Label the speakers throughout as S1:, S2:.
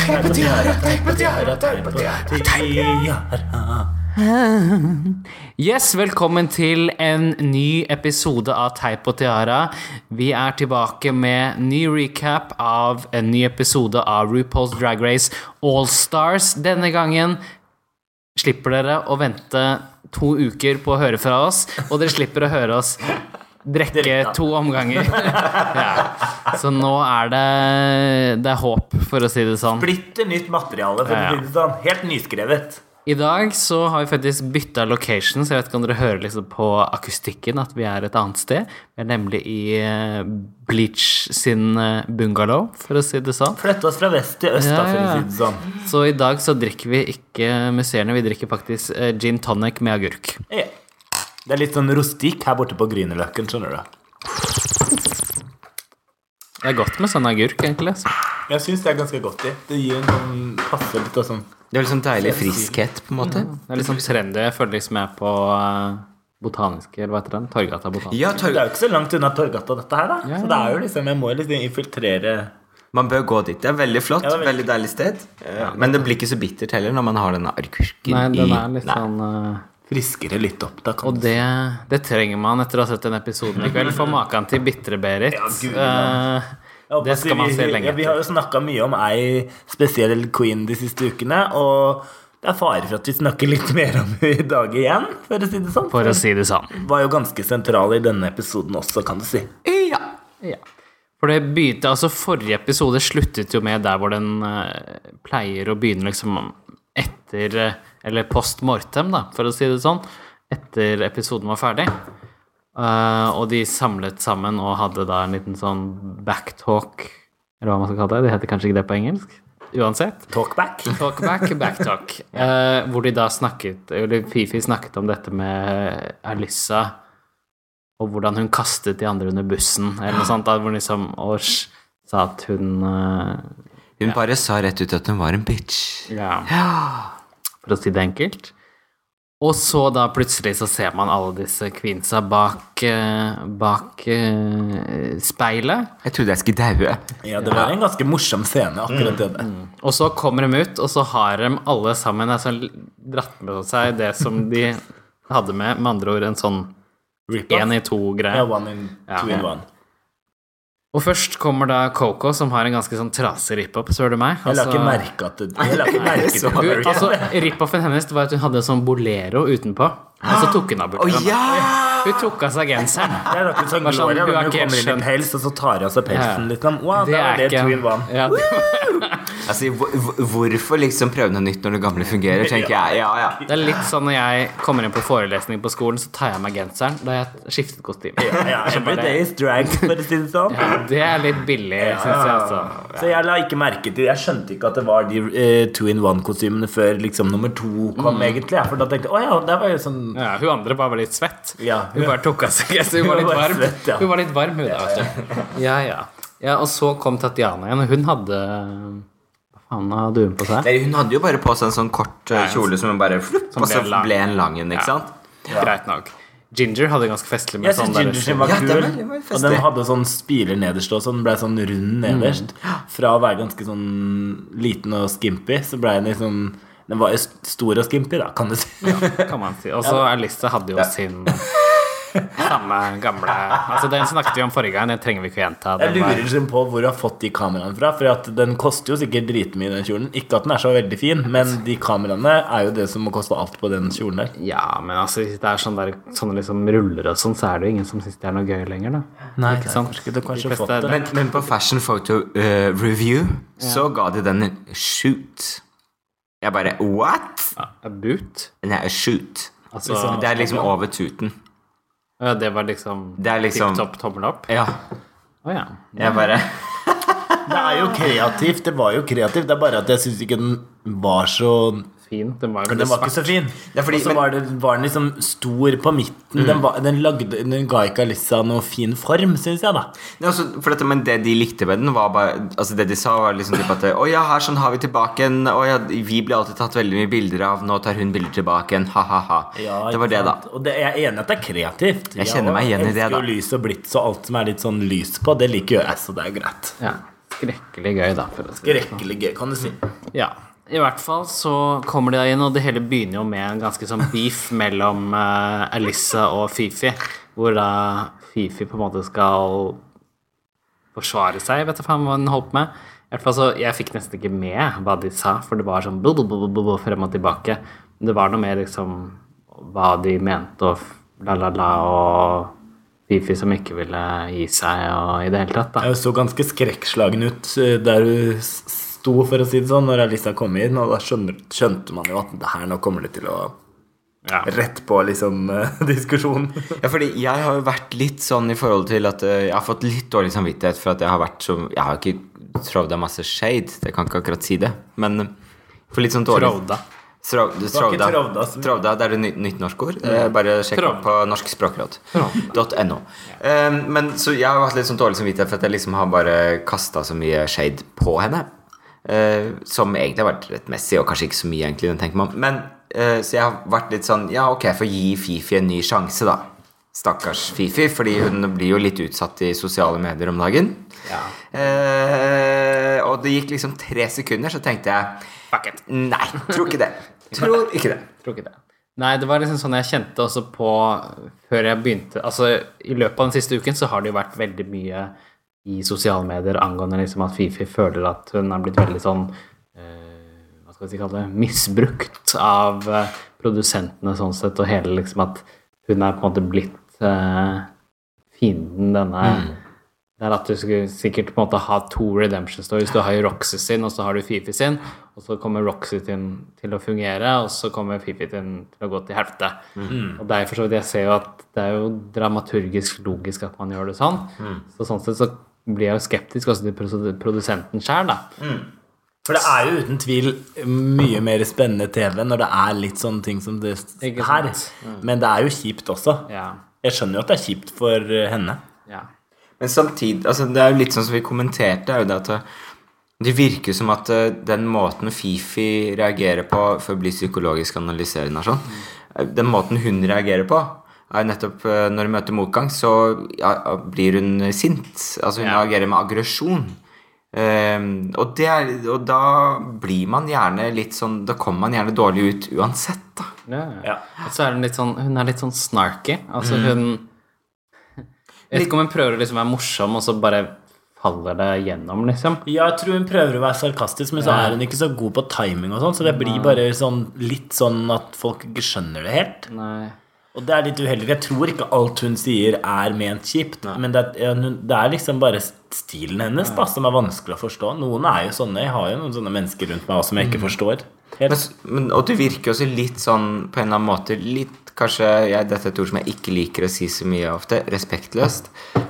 S1: Teip på tiara, teip på tiara, teip på tiara.
S2: Yes, velkommen til en ny episode av Teip og Tiara. Vi er tilbake med ny recap av en ny episode av RuPaul's Drag Race Allstars. Denne gangen slipper dere å vente to uker på å høre fra oss, og dere slipper å høre oss drikke to omganger. Ja. Så nå er det, det er håp, for å si det sånn.
S1: Splitter nytt materiale, for å si det sånn. Helt nyskrevet.
S2: I dag så har vi faktisk bytta location, så jeg vet ikke om dere hører liksom på akustikken at vi er et annet sted. Vi er nemlig i eh, Bleach sin eh, bungalow, for å si det sånn.
S1: Flytte oss fra vest til øst, da, for å si det sånn.
S2: Så i dag så drikker vi ikke musserende, vi drikker faktisk eh, gin tonic med agurk.
S1: Ja. Det er litt sånn rustikk her borte på Grünerløkken, skjønner du.
S2: Det er godt med sånn agurk, egentlig. Så.
S1: Jeg syns det er ganske godt i. Det gir en sånn passe litt av sånn
S3: Det er litt sånn deilig friskhet, på en måte.
S2: Det er litt sånn trendy. Jeg føler liksom jeg er på eh, botaniske, eller hva heter den? Torgata botaniske.
S3: Ja,
S1: Det
S3: Torg-
S1: er jo ikke så langt unna Torgata, dette her, da. Så det er jo liksom Jeg må liksom infiltrere
S3: man bør gå dit. Det er veldig flott.
S1: Ja, det er veldig-
S3: veldig deilig sted. Eh, Men det blir ikke så bittert heller når man har denne agurken
S2: Nei, den er
S3: i
S2: litt
S3: Nei.
S2: sånn eh,
S1: friskere litt opp, da.
S2: Og
S1: Kan du
S2: det, det trenger man etter å ha sett den episoden i kveld. For maken til Bitre-Berit
S1: Ja, gud,
S2: eh,
S1: Jeg håper
S2: Det
S1: at
S2: skal man
S1: vi-
S2: se lenge
S1: ja, Vi har jo snakka mye om ei spesiell queen de siste ukene, og det er fare for at vi snakker litt mer om henne i dag igjen, for å si det sånn.
S2: for å si det sånn.
S1: Var jo ganske sentral i denne episoden også, kan du si.
S3: Ja.
S2: For det begynte, altså Forrige episode sluttet jo med der hvor den eh, pleier å begynne liksom etter eh, Eller post mortem, da, for å si det sånn. Etter episoden var ferdig. Eh, og de samlet sammen og hadde da en liten sånn backtalk, eller hva man skal kalle det. Det heter kanskje ikke det på engelsk. Uansett.
S1: Talkback.
S2: Talkback, backtalk. Eh, hvor de da snakket Eller Fifi snakket om dette med Alyssa og hvordan hun kastet de andre under bussen, eller noe sånt. Da, hvor hun liksom og sj- sa at hun eh,
S3: Hun bare sa rett ut at hun var en bitch.
S2: Ja,
S3: Ja.
S2: for å si det enkelt. Og så da plutselig så ser man alle disse queensa bak, eh, bak eh, speilet.
S3: Jeg trodde jeg skulle daue.
S1: Ja, det var en ganske morsom scene,
S2: Mm,
S1: akkurat det der.
S2: Og så kommer de ut, og så har de alle sammen altså, dratt med seg det som de hadde med, med andre ord en sånn
S1: Rip
S2: én
S1: off.
S2: i
S1: Ja,
S2: to-greie.
S1: one in
S2: Ja.
S1: two in one.
S2: Og først kommer da Coco, som har en ganske sånn trasig rip-up, spør du meg.
S1: Jeg la ikke
S2: Altså,
S1: merke at det Jeg la ikke merke til
S2: hun,
S1: det.
S2: altså, Rip-offen hennes var at hun hadde en sånn bolero utenpå, og så tok hun av
S3: Å
S2: buksene.
S3: ja!
S2: Hun tok av seg genseren.
S1: Det er akkurat sånn
S2: Bare sånn,
S1: Gloria
S2: du har
S1: når hun
S2: ikke
S1: kommer inn i en
S2: skjønt.
S1: pels, og så tar hun av seg pelsen
S2: Ja.
S1: litt sånn Wow, det er det two in one.
S2: ja, det,
S3: Altså, hvor- hvor- hvorfor liksom prøve noe nytt når det gamle fungerer, tenker jeg. Ja, ja.
S2: det er litt sånn når jeg kommer inn på forelesning på skolen, så tar jeg av meg genseren da har jeg skiftet kostyme.
S1: Ja, every day is drag, for å si det sånn.
S2: Ja, det er litt billig, syns jeg, altså.
S1: Så jeg la ikke merke til Jeg skjønte ikke at det var de eh, two in one-kostymene før liksom nummer to kom,
S2: Mm.
S1: egentlig. ja, For da tenkte jeg å ja, det var jo sånn
S2: Ja, hun andre bare var litt svett.
S1: Ja.
S2: Hun bare tok av seg genseren. Hun var litt
S1: Hun var
S2: varm,
S1: svett, ja.
S2: hun, var litt varm, hun da, vet du. Ja, ja. ja, og så kom Tatiana igjen, og hun hadde Hva faen hadde hun på seg?
S3: Nei, hun hadde jo bare på seg en sånn kort eh, kjole som hun bare flupp,
S2: Som
S3: og så
S2: ble lang.
S3: ble en lang en, ikke sant?
S2: Greit nok. Ginger hadde ganske festlig med
S1: Jeg
S2: sånn
S1: syns
S2: der
S1: Ginger sin var
S3: Ja,
S1: kul.
S3: den var- den var
S1: og den
S3: festlig.
S1: hadde sånn spiler nederst også, så den ble sånn rund nederst. Fra å være ganske sånn liten og skimpy, så ble den liksom Den var jo st- stor og skimpy, da, kan du si.
S2: kan man si. Og så Alissa hadde jo sin samme gamle Altså, den snakket vi om forrige gang, den trenger vi ikke å gjenta.
S1: Jeg
S2: Den
S1: lurer
S2: var,
S1: liksom på hvor du har fått de kameraene fra. For at den koster jo sikkert dritmye, den kjolen. Ikke at den er så veldig fin, men de kameraene er jo det som må koste alt på den kjolen der.
S2: ja, men altså, hvis det er sånn der, sånne liksom ruller og sånn, så er det jo ingen som syns det er noe gøy lenger, da.
S1: Nei,
S2: Ikke sant?
S1: Kanskje, du
S2: De
S1: kanskje
S2: fleste-
S1: fått det.
S3: Men, men på Fashion Photo eh, Review så ga de den en shoot. Jeg bare What?
S2: Ja, a boot.
S3: Nei, a shoot.
S2: Altså,
S3: det er liksom over tuten.
S2: ja, det var liksom,
S3: Det er liksom-
S2: tipp topp tommel opp.
S3: Ja.
S2: Å ja.
S3: Jeg bare
S1: Det er jo kreativt. Det var jo kreativt. Det er bare at jeg syns ikke den var så
S2: Fin. Den var jo
S1: Den var ikke så fin.
S3: er fordi- Mm.
S1: Og så
S3: men-
S1: var, det- var den liksom stor på midten. Den, var, den, lagde, den ga ikke Alissa noe fin form, syns jeg, da.
S3: Nei, altså, for dette, men det de likte med den, var bare Altså Det de sa, var liksom typ at Å ja, her sånn har vi tilbake en Å ja, vi blir alltid tatt veldig mye bilder av, nå tar hun bilder tilbake en, ha-ha-ha.
S1: Ja,
S3: det var det,
S1: ikke
S3: da.
S1: sant? Og det, jeg er enig i at det er kreativt.
S3: Jeg kjenner meg igjen i det,
S1: elsker jo
S3: da.
S1: lys og blitz og alt som er litt sånn lys på, det liker jo jeg, så det er greit.
S2: Ja. Skrekkelig gøy, da. For å si. det. sånn.
S1: Skrekkelig gøy, kan du si.
S2: Ja. I hvert fall så kommer de da inn, og det hele begynner jo med en ganske sånn beef mellom uh, Alissa og Fifi, hvor da Fifi på en måte skal forsvare seg, vet du faen hva hun holdt på med. I hvert fall så, Jeg fikk nesten ikke med hva de sa, for det var sånn blubb, blubb, blubb, blubb, frem og tilbake. Men det var noe mer liksom hva de mente, og la-la-la, og Fifi som ikke ville gi seg, og i det hele tatt, da.
S1: Jeg så ganske skrekkslagen ut eh, der hun s- sto, for å si det sånn, når Alisa kom inn. Og da skjønner, skjønte man jo at det her nå kommer det til å
S2: Ja.
S1: rett på liksom eh, diskusjonen.
S3: Ja, fordi jeg har jo vært litt sånn i forhold til at eh, jeg har fått litt dårlig samvittighet for at jeg har vært så Jeg har ikke tråvda masse shade, jeg kan ikke akkurat si det, men for litt sånn dårlig
S2: Trovda.
S3: Strov- Strovda.
S1: trovda, så-
S3: Trovda, det er et nytt, nytt norsk ord. Eh, Bare sjekk
S2: Trovda.
S3: opp på Norsk språkråd. .no. Eh, Men så jeg har hatt litt sånn dårlig samvittighet for at jeg liksom har bare kasta så mye shade på henne. Eh, som egentlig har vært rettmessig, og kanskje ikke så mye, egentlig. Den tenker man. Men eh, Så jeg har vært litt sånn Ja, ok, for gi Fifi en ny sjanse, da. Stakkars Fifi, fordi hun blir jo litt utsatt i sosiale medier om dagen. Eh, og det gikk liksom tre sekunder, så tenkte jeg
S2: Fuck it.
S3: Nei, tror ikke det. Tror ikke det.
S2: Tror ikke det. Nei, det var liksom sånn jeg kjente også på før jeg begynte Altså, i løpet av den siste uken så har det jo vært veldig mye i sosiale medier angående liksom at Fifi føler at hun er blitt veldig sånn eh, Hva skal vi si kalle det Misbrukt av eh, produsentene sånn sett, og hele liksom at hun er på en måte blitt eh, fienden denne Det er at du skulle sikkert på en måte ha to redemption stories. Du har jo Roxy sin, og så har du Fifi sin. Og så kommer Roxy sin til å fungere, og så kommer Fifi sin til å gå til helvete. Og derfor så vidt jeg ser jo at det er jo dramaturgisk logisk at man gjør det sånn. Så sånn sett så blir jeg jo skeptisk også til produ- produsenten sjøl, da.
S1: For det er jo uten tvil mye mer spennende TV når det er litt sånne ting som det
S2: Ikke
S1: her.
S2: sant? Mm.
S1: Men det er jo kjipt også.
S2: Ja.
S1: Jeg skjønner jo at det er kjipt for eh, henne.
S2: ja.
S3: Men samtidig altså, Det er jo litt sånn som vi kommenterte, er jo det at eh, det virker som at eh, den måten Fifi reagerer på for å bli psykologisk analyserende og sånn, eh, den måten hun reagerer på er nettopp eh, Når hun møter motgang, så ja, blir hun sint. Altså hun
S2: Ja.
S3: reagerer med aggresjon. Ehm, og, det er, og da blir man gjerne litt sånn Da kommer man gjerne dårlig ut uansett, da.
S2: Ja, ja.
S1: Ja.
S2: Og så er hun litt sånn Hun er litt sånn snarky. Altså hun Jeg vet ikke om hun prøver å liksom være morsom, og så bare faller det gjennom, liksom.
S1: Jeg tror hun prøver å være sarkastisk, men så er hun ikke så god på timing og sånn, så det blir bare sånn, litt sånn at folk ikke skjønner det helt.
S2: Nei.
S1: Og det er litt uheldig. for Jeg tror ikke alt hun sier, er ment kjipt, men det er, ja, hun- det er liksom bare stilen hennes da, som er vanskelig å forstå. Noen er jo sånne. Jeg har jo noen sånne mennesker rundt meg også, som Mm. jeg ikke forstår.
S3: Men,
S1: Helt.
S3: s- men, og du virker også litt sånn på en eller annen måte litt Kanskje jeg, Dette er et ord som jeg ikke liker å si så mye ofte. Respektløst.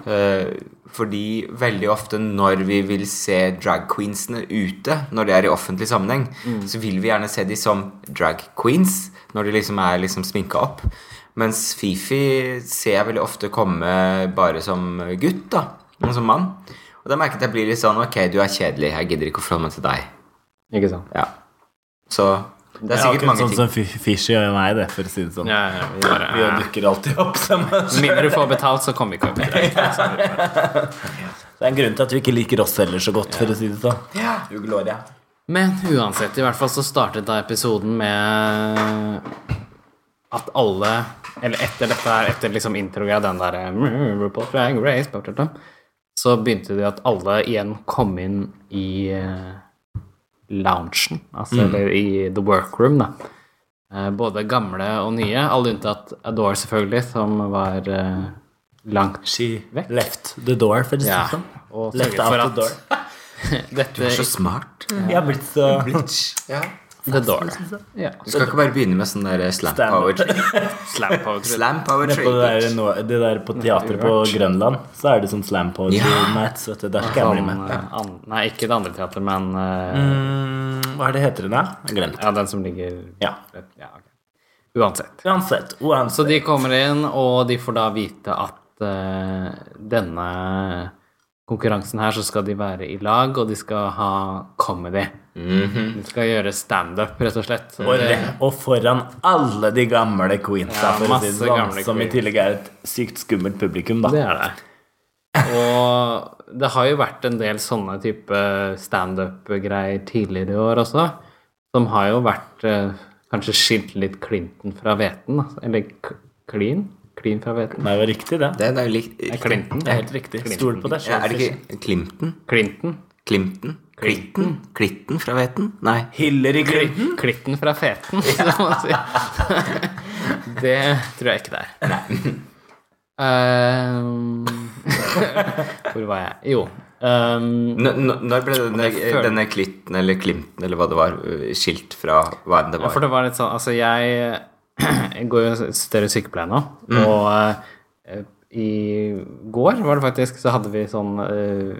S3: Eh, fordi veldig ofte når vi vil se drag queensene ute, når det er i offentlig sammenheng, så vil vi gjerne se de som drag queens, når de liksom er liksom sminka opp. Mens Fifi ser jeg veldig ofte komme bare som gutt, da. Og som mann. Og da merket jeg blir litt sånn Ok, du er kjedelig. Jeg gidder ikke å forholde meg til deg.
S2: Ikke sant.
S3: Ja. Så det er
S1: Det er
S3: sikkert
S1: akkurat
S3: mange
S1: sånn
S3: ting.
S1: som Fi- Fishy og meg, det, for å si det sånn.
S2: Ja, ja, vi bare,
S1: Vi dukker alltid opp sammen.
S2: Med mindre du får betalt, så kommer vi ikke opp til det.
S1: Det er en grunn til at du ikke liker oss heller så godt, for å si det sånn.
S3: Ja, Gloria.
S2: Men uansett, i hvert fall så startet da episoden med at alle Eller etter dette her, etter liksom introen av den der eh, RuPaul's Drag Race, bla, bla, bla, så begynte de at alle igjen kom inn i eh, loungen, altså eller i the workroom, da. Eh, Både gamle og nye, alle unntatt Adore, selvfølgelig, som var eh, langt
S1: She
S2: Vekk.
S1: left the door, for å si det
S2: Ja,
S1: sånn.
S2: og
S1: Left
S2: sørget
S1: out
S2: for
S1: the
S2: at
S1: door.
S2: dette
S3: Så smart.
S1: Jeg har blitt så
S3: Ja.
S2: The Door. Ja.
S3: Du skal ikke bare begynne med sånn der slam
S1: Slam.
S3: poetry.
S2: Slam poetry.
S3: Slam poetry.
S1: på det der, nå, det der på teatret på Grønland, så er det sånn slam poetry
S3: Ja.
S1: nights, vet du. Der skal jeg bli
S2: Sånn,
S1: med.
S2: eh, an, nei, ikke det andre teatret, men eh,
S1: Mm, Hva er det heter den, da? Jeg har Glemt.
S2: ja, den som ligger
S1: Ja.
S2: ja ok. Uansett.
S1: Uansett. uansett.
S2: Så de kommer inn, og de får da vite at eh, denne konkurransen her, så skal de være i lag, og de skal ha comedy. De skal gjøre standup, rett og slett. Og
S1: Mhm. Og,
S2: det,
S1: re- og foran alle de gamle queensa,
S2: Ja,
S1: for å si
S2: masse
S1: det sånn,
S2: gamle
S1: som i
S2: queens.
S1: tillegg er et sykt skummelt publikum, da.
S2: det er det. Og det har jo vært en del sånne type standup-greier tidligere i år også, som har jo vært eh, kanskje skilt litt Clinton fra hveten. altså. Eller K- Klin? Klin fra hveten?
S1: Nei, det var riktig, det.
S3: Det er jo likt
S2: Nei, Clinton.
S1: Det er helt riktig.
S2: Clinton.
S1: Stol på deg
S3: ja, Er
S1: sjøl.
S3: det ikke Clinton?
S2: Clinton.
S3: Clinton? Clinton? Clinton fra Veten? Nei.
S1: Hillary Clinton.
S2: Klitten fra feten, som man sier. Det tror jeg ikke det er. Ehm, hvor var jeg? Jo. ehm,
S3: N n- når ble denne,
S2: føler-
S3: denne Clinton eller Clinton eller hva det var, øh, skilt fra hva enn det
S2: Ja, for
S3: var?
S2: det var litt sånn Altså, jeg, jeg går jo og studerer sykepleie nå, og eh, i går var det faktisk så hadde vi sånn eh,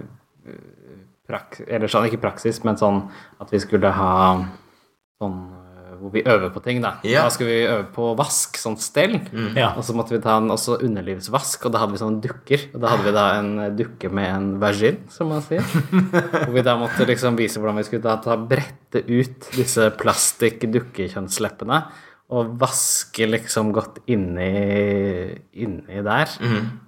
S2: prak, Eller sånn, ikke praksis, men sånn at vi skulle ha sånn eh, hvor vi øver på ting, da.
S3: Ja.
S2: Da skulle vi øve på vask, sånn stell.
S1: Ja.
S2: Og så måtte vi ta en også underlivsvask, og da hadde vi sånne dukker. Og da hadde vi da en eh, dukke med en vagin, som man sier. Hvor vi da måtte liksom vise hvordan vi skulle da ta brette ut disse plastikk-dukkekjønnsleppene. Og vaske liksom godt inni, inni der.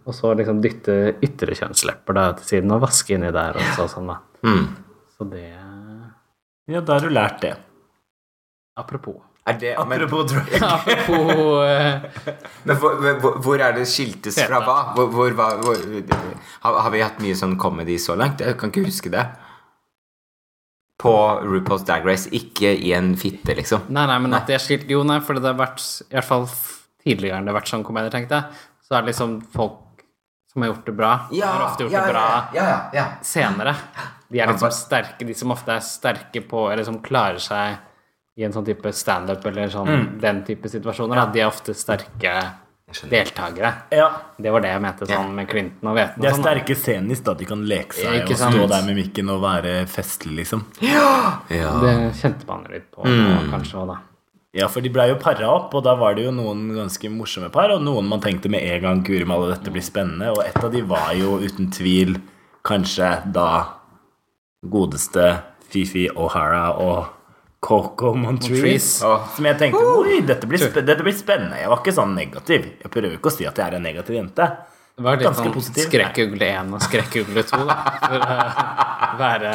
S2: Og så liksom dytte ytre kjønnslepper da til siden og vaske inni der. Og så, sånn, da.
S3: Mm.
S2: så det
S1: Ja, da har du lært det.
S2: Apropos.
S3: Er det, men
S1: drag.
S2: Apropos eh,
S3: men hvor, hvor, hvor er det skiltes fra
S2: Feta.
S3: hva? Hvor, hvor, hva- hvor, har, har vi hatt mye sånn comedy så langt? Jeg kan ikke huske det. På RuPaul's Drag Race, ikke i en fitte, liksom.
S2: Nei, nei, men at det er skilt Jo, nei, for det har vært I hvert fall f- tidligere enn det har vært sånn komedier, tenkte jeg. Så er det liksom folk som har gjort det bra, har ofte gjort det bra
S3: ja, ja, ja.
S2: senere. De er liksom sterke, de som ofte er sterke på Eller som klarer seg i en sånn type standup eller sånn
S3: Mm.
S2: den type situasjoner, da. De er ofte sterke deltakere.
S1: Ja,
S2: Det var det jeg mente sånn med Clinton og Veten
S1: De
S2: og
S1: er
S2: sånn. da.
S1: sterke scenisk, da. De kan leke
S2: Ja,
S1: seg
S2: ikke
S1: og stå
S2: sant?
S1: der med mikken og være festlig, liksom.
S3: ja.
S2: Det kjente man litt på, kanskje òg, da.
S1: Ja, for de blei jo para opp, og da var det jo noen ganske morsomme par, og noen man tenkte med en gang Guri malla, dette blir spennende, og et av de var jo uten tvil kanskje da godeste Fifi O'Hara og Coco Montrese.
S2: Montrese.
S3: Åh.
S1: Som jeg tenkte oi, dette blir, spe dette blir spennende. Jeg var ikke sånn negativ. Jeg prøver ikke å si at jeg er en negativ jente.
S2: Det var litt
S1: Ganske
S2: sånn
S1: positiv.
S2: skrekkugle 1 og skrekkugle 2, da. For å være,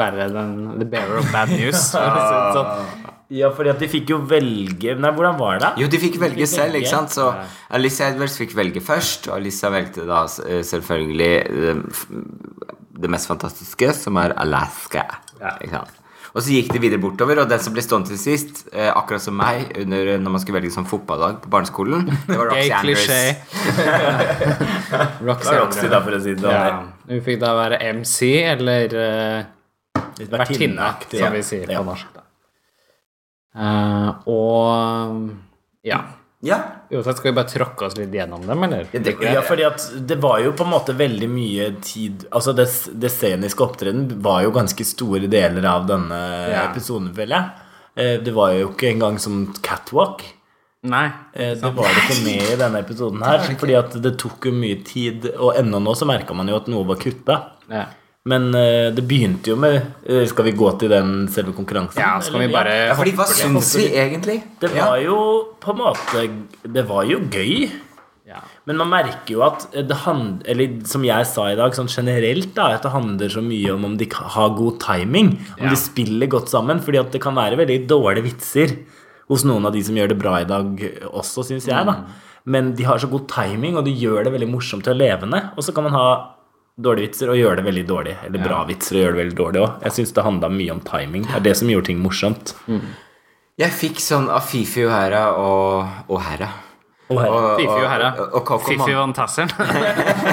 S2: være den, the bearer of bad news. For å si det
S1: Ah.
S2: sånn.
S1: Ja, fordi at de fikk jo velge Nei, hvordan var det?
S3: Jo, de fikk velge selv, ikke
S1: velge.
S3: sant? Så Alicia Edwards fikk velge først, og Alicia velgte da s- eh, selvfølgelig eh, f- det mest fantastiske, som er Alaska. Ikke sant? Og så gikk de videre bortover, og den som ble stående til sist, eh, akkurat som meg under, når man skulle velge sånn fotballag på barneskolen, det var
S2: Gay
S3: Roxy Andrews.
S2: klisjé.
S1: Det
S2: Roxy
S1: var Roxy, da, for å si det
S2: Ja.
S1: sånn.
S2: Hun fikk da være MC, eller eh,
S1: Litt
S2: vertinne,
S1: vertinneaktig, ja.
S2: som vi sier
S1: Ja.
S2: på norsk. Da. Eh, og ja.
S3: Ja,
S2: Uansett, skal vi bare tråkke oss litt gjennom dem, eller?
S3: det,
S1: Ja, fordi at det var jo på en måte veldig mye tid Altså det, det sceniske opptreden var jo ganske store deler av denne
S2: Ja.
S1: episoden, føler jeg. Eh, Det var jo ikke engang som catwalk.
S2: Nei.
S1: Eh, Det
S2: Sånn.
S1: var det ikke med i denne episoden her. Fordi at det tok jo mye tid, og ennå nå så merka man jo at noe var kutta.
S2: Ja.
S1: Men eh, det begynte jo med eh, Skal vi gå til den selve konkurransen?
S2: ja, så kan vi
S1: eller?
S2: bare
S3: ja fordi hva syns vi egentlig?
S1: Det var jo på en måte Det var jo gøy.
S2: ja.
S1: Men man merker jo at det hand, eller som jeg sa i dag, sånn generelt da, at det handler så mye om om de har god timing, om
S2: Ja.
S1: de spiller godt sammen, fordi at det kan være veldig dårlige vitser hos noen av de som gjør det bra i dag også, synes jeg da. Men de har så god timing, og de gjør det veldig morsomt og levende, og så kan man ha dårlige vitser og gjøre det veldig dårlig, eller bra vitser og gjøre det veldig dårlig også. Jeg synes det handlet mye om timing, det er det som gjorde ting morsomt.
S3: Jeg fikk sånn Afifi O'Hara og O'Hara.
S1: Og her,
S3: Og-
S2: Fifi og herre.
S3: og- og Coco
S2: Fifi
S3: Mon-
S2: van Tassel.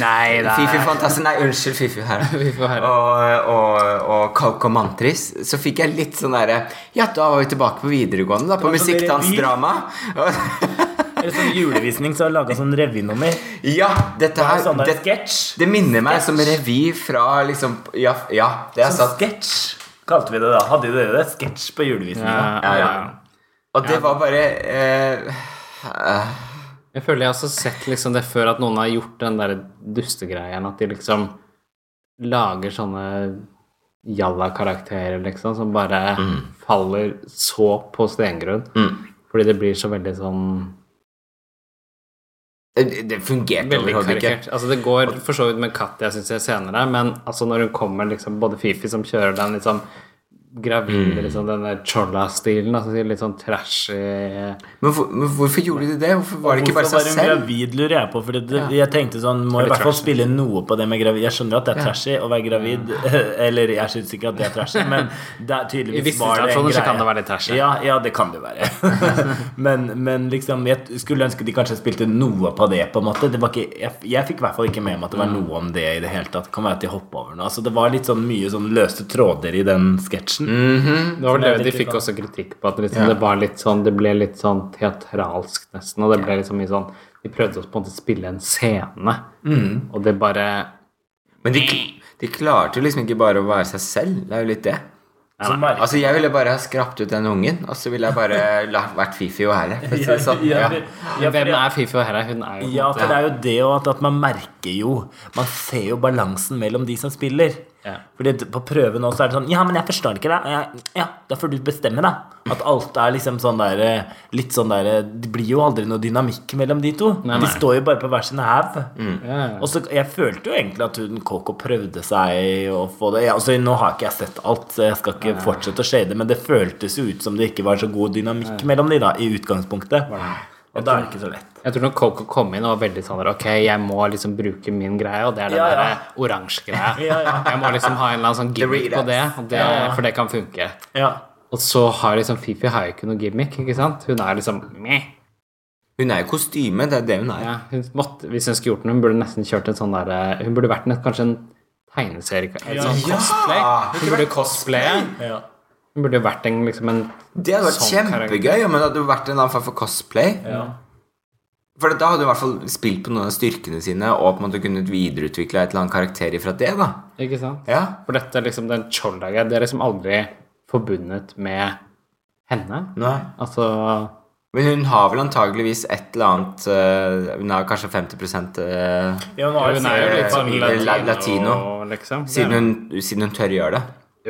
S2: Nei da.
S3: Fifi Fantasen, nei, unnskyld, Fifi her.
S2: Fifi her.
S3: Og, og, og Coco Mantris. Så fikk jeg litt sånn derre Ja, da var vi tilbake på videregående, da. På
S1: Det var sånn
S3: musikkdansdrama.
S1: eller sånn julevisning så har jeg laget sånn revynummer,
S3: Ja, dette
S1: det er
S3: her
S1: sånn der
S3: det,
S1: sketsj.
S3: det minner meg som revy fra liksom Ja, ja det er
S1: Sånn
S3: sant.
S1: sketsj kalte vi det da. Hadde dere det? Sketsj på julevisninga.
S2: Ja,
S3: Ja, ja.
S2: ja.
S3: Og det var bare eh,
S2: Jeg føler jeg har også sett liksom det før at noen har gjort den der dustegreien at de liksom lager sånne jalla-karakterer, liksom, som bare faller så på stengrunn.
S3: Mm.
S2: Fordi det blir så veldig sånn
S3: Det fungerte
S2: Veldig
S3: overhodet ikke.
S2: karikert. Altså, det går for så vidt med Katja, syns jeg, senere, men altså, når hun kommer, liksom, både Fifi som kjører den liksom
S1: Mm.
S2: gravide, liksom, denne cholla-stilen, altså litt sånn trashy
S1: Mm.
S3: Men, hvor, men hvorfor gjorde de det? Hvorfor var det ikke bare
S1: Hvorfor
S3: seg
S1: var hun
S3: selv?
S1: gravid, lurer jeg på. Fordi det, jeg tenkte sånn, må i hvert fall spille noe på det med gravid. Jeg skjønner at det er trashy å være gravid. Eller jeg syns ikke at det er trashy, men det er
S2: I visse
S1: tydeligvis var det en
S2: situasjoner
S1: greie.
S2: så kan det være litt trashy.
S1: Ja, ja det kan det være. men, men liksom, jeg skulle ønske de kanskje spilte noe på det, på en måte. Det var ikke, jeg, jeg fikk i hvert fall ikke med meg at det var
S2: Mm.
S1: noe om det i det hele tatt. Kan være at de hoppa over noe. Altså, det var litt sånn mye sånn løse tråder i den sketsjen.
S2: Mm. Det var
S1: det
S2: det
S1: er
S2: de
S1: litt
S2: fikk
S1: sånn-
S2: også kritikk på, at liksom, det, var litt sånn, det ble litt sånn teatralsk, nesten. Og det ble liksom mye sånn De prøvde å på en måte spille en scene,
S1: Mm.
S2: og det bare
S3: Men de, de klarte jo liksom ikke bare å være seg selv. Det er jo litt det.
S1: Så merker-
S3: Altså, jeg ville bare ha skrapt ut den ungen, og så ville jeg bare la, vært Fifi og Herre. for å si det sånn.
S1: Ja,
S3: Ja.
S1: ja,
S2: Hvem er Fifi og Herre? Hun er jo
S1: Ja, for det er jo det og at, at man merker jo Man ser jo balansen mellom de som spiller.
S2: Ja.
S1: Fordi d- på prøven også er det sånn Ja, men jeg forstår ikke det. og Jeg, ja, da får du bestemme, da. At alt er liksom sånn der eh, Litt sånn der eh, Det blir jo aldri noe dynamikk mellom de to.
S2: Nei, Mm. nei.
S1: De står jo bare på hver sin haug.
S2: Ja, ja.
S1: Og så Jeg følte jo egentlig at hun Coco prøvde seg å få det ja, altså, Nå har ikke jeg sett alt, så jeg skal ikke fortsette å shade, men det føltes jo ut som det ikke var så god dynamikk mellom de, da, i utgangspunktet. Og da er det ikke så lett.
S2: Jeg tror når Coco kom inn og var veldig sånn der, Ok, jeg må liksom bruke min greie, og det er den
S1: Ja, ja.
S2: der eh, oransje greia.
S1: Ja, ja.
S2: Jeg må liksom ha en eller annen sånn gimmick på
S3: Doritos.
S2: det, og det for det kan funke.
S1: Ja
S2: Og så har liksom Fifi har jo ikke noe gimmick, ikke sant? Hun er liksom meh.
S3: Hun er jo kostyme, det er det hun er.
S2: Ja, hun måtte, hvis hun skulle gjort noe, hun burde nesten kjørt en sånn der Hun burde vært en, kanskje en tegneserie en sånn
S1: Ja.
S2: cosplay.
S3: Ah, Hun
S2: Hun
S3: kunne
S2: burde
S3: vært
S2: cosplaye.
S1: Ja.
S2: Hun burde jo vært en, liksom en
S3: Det hadde vært
S2: Sånn
S3: kjempegøy om hun hadde vært en annen form for cosplay. For da hadde hun i hvert fall spilt på noen av styrkene sine og på en måte kunnet videreutvikle et eller annet karakter ifra det. da
S2: Ikke sant?
S3: Ja,
S2: For dette er liksom den cholla-greia. Det er liksom aldri forbundet med henne.
S3: nei
S2: Altså
S3: Men hun har vel antageligvis et eller annet eh, Hun har kanskje 50 eh,
S1: Ja, hun har
S2: Hun er jo litt sånn
S3: Eh,
S2: latino,
S3: la- latino.
S2: liksom.
S3: siden, hun, siden hun tør gjøre det.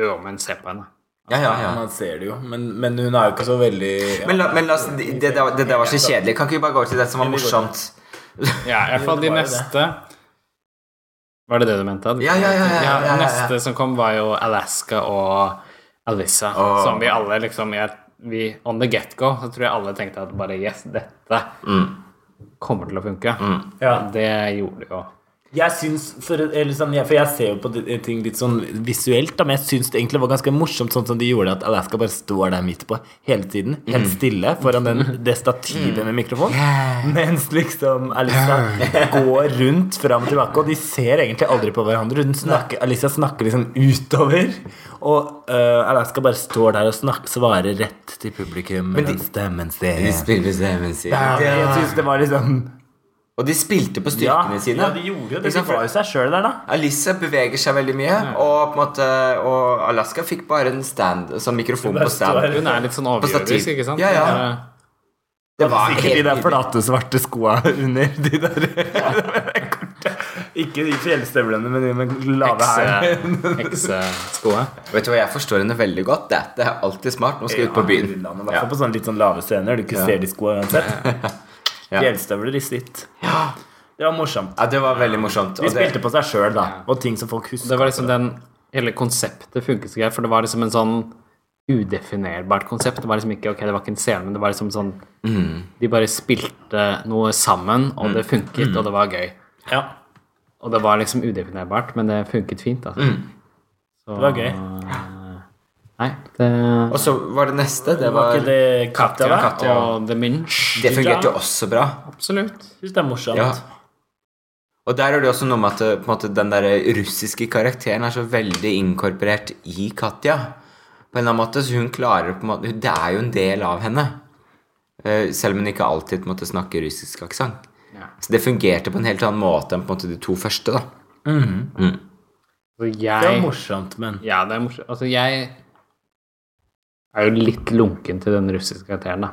S2: Jo, men se på henne.
S3: Ja, ja, ja.
S1: Man ser det jo, men, men hun er jo ikke så veldig
S3: Men, la, men la oss, det, det, der- det der var så kjedelig. Kan ikke vi bare gå over til det som var morsomt?
S2: Ja, i hvert fall de
S1: det var jo
S2: neste Var det det du mente?
S3: Ja, ja, ja, ja, ja, ja, ja.
S2: Neste som kom, var jo Alaska og Alissa,
S3: Åh.
S2: som vi alle liksom jeg, vi, On the get-go så tror jeg alle tenkte at bare yes, dette
S3: Mm.
S2: kommer til å funke.
S1: ja.
S2: Det gjorde det jo.
S1: Jeg syns, for, eller sånn, jeg, for jeg ser jo på de- ting litt sånn visuelt, da, men jeg syns det egentlig var ganske morsomt sånn som de gjorde at Alaska bare står der midt på hele tiden, helt
S3: Mm.
S1: stille, foran den, det stativet med mikrofon, mens liksom Alisa går rundt fram og tilbake, og de ser egentlig aldri på hverandre. Hun snakker, Alisa snakker liksom utover, og øh, Alaska bare står der og snakker, svarer rett til publikum med den stemmen sin.
S3: spiller stemmen sin.
S1: Jeg syns det var liksom
S3: Og de spilte på styrkene sine.
S1: Ja, de gjorde jo
S3: Ikke
S1: det. De
S3: sant?
S1: var jo seg sjøl der, da.
S3: Alissa beveger seg veldig mye, og, på en måte, og Alaska fikk bare en stand, sånn mikrofon på stand.
S2: Hun er litt sånn overjordisk,
S3: stativ.
S2: ikke sant?
S3: Ja, ja.
S2: Hun er-
S3: Det var
S1: Sikkert de
S3: helt
S1: der
S3: nydelig.
S1: flate, svarte skoa under de der Ikke de fjellstøvlene, men de med lave hæl.
S2: Hekse- Hekseskoa.
S3: Vet du hva, jeg forstår henne veldig godt. Det, det er alltid smart. Nå skal jeg ut på byen.
S1: I hvert fall på sånne litt sånn lave scener. Du ikke ser de skoa uansett.
S3: Ja.
S1: Fjellstøvler i sitt. Det var morsomt.
S3: Ja, det var veldig morsomt.
S1: De
S3: Og det,
S1: spilte på seg sjøl, da. Og ting som folk
S2: Det
S1: husker.
S2: var liksom den Hele konseptet funket så greit, for det var liksom en sånn udefinerbart konsept. Det var liksom ikke ok, det var ikke en scene, men det var liksom sånn De bare spilte noe sammen, og det funket, og det var gøy.
S1: Ja,
S2: Og det var liksom udefinerbart, men det funket fint, altså. Så,
S1: det var gøy.
S2: Nei, det
S3: og så var det neste. Det
S1: Var
S3: var
S1: ikke det Katja, da?
S3: Katja.
S2: Og The Minch.
S3: Det fungerte jo også bra.
S2: Absolutt.
S1: Jeg syns det er morsomt.
S3: Ja. Og der er det også noe med at eh, på en måte, den der russiske karakteren er så veldig inkorporert i Katja. På en eller annen måte, så hun klarer på en måte Det er jo en del av henne. Eh, Selv om hun ikke alltid på en måte, snakker russisk aksent.
S2: Ja.
S3: Så det fungerte på en helt annen måte enn på en måte, de to første. da
S2: Mhm.
S3: Mm.
S2: Så
S1: Det var
S2: jeg
S1: morsomt, men
S2: Ja, det er morsomt. Altså, jeg er jo litt lunken til den russiske karakteren, da.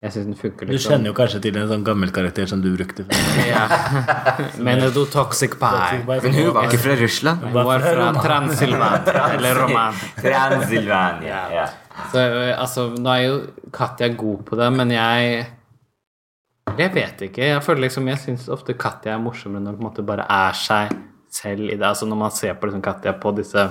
S2: Jeg syns den funker
S1: du
S2: litt sånn.
S1: kjenner jo kanskje til en sånn gammel karakter som du brukte før.
S2: Men er du toxic pie?
S3: Men hun var ikke fra Russland.
S2: Hun var fra Transylvania, eller Roman.
S3: Transylvania. Ja.
S2: eh, Så, ø, altså, nå er jo Katja god på det, men jeg Jeg vet ikke. Jeg føler liksom, jeg syns ofte Katja er morsommere når hun på en måte bare er seg selv i det. Altså Når man ser på liksom Katja på disse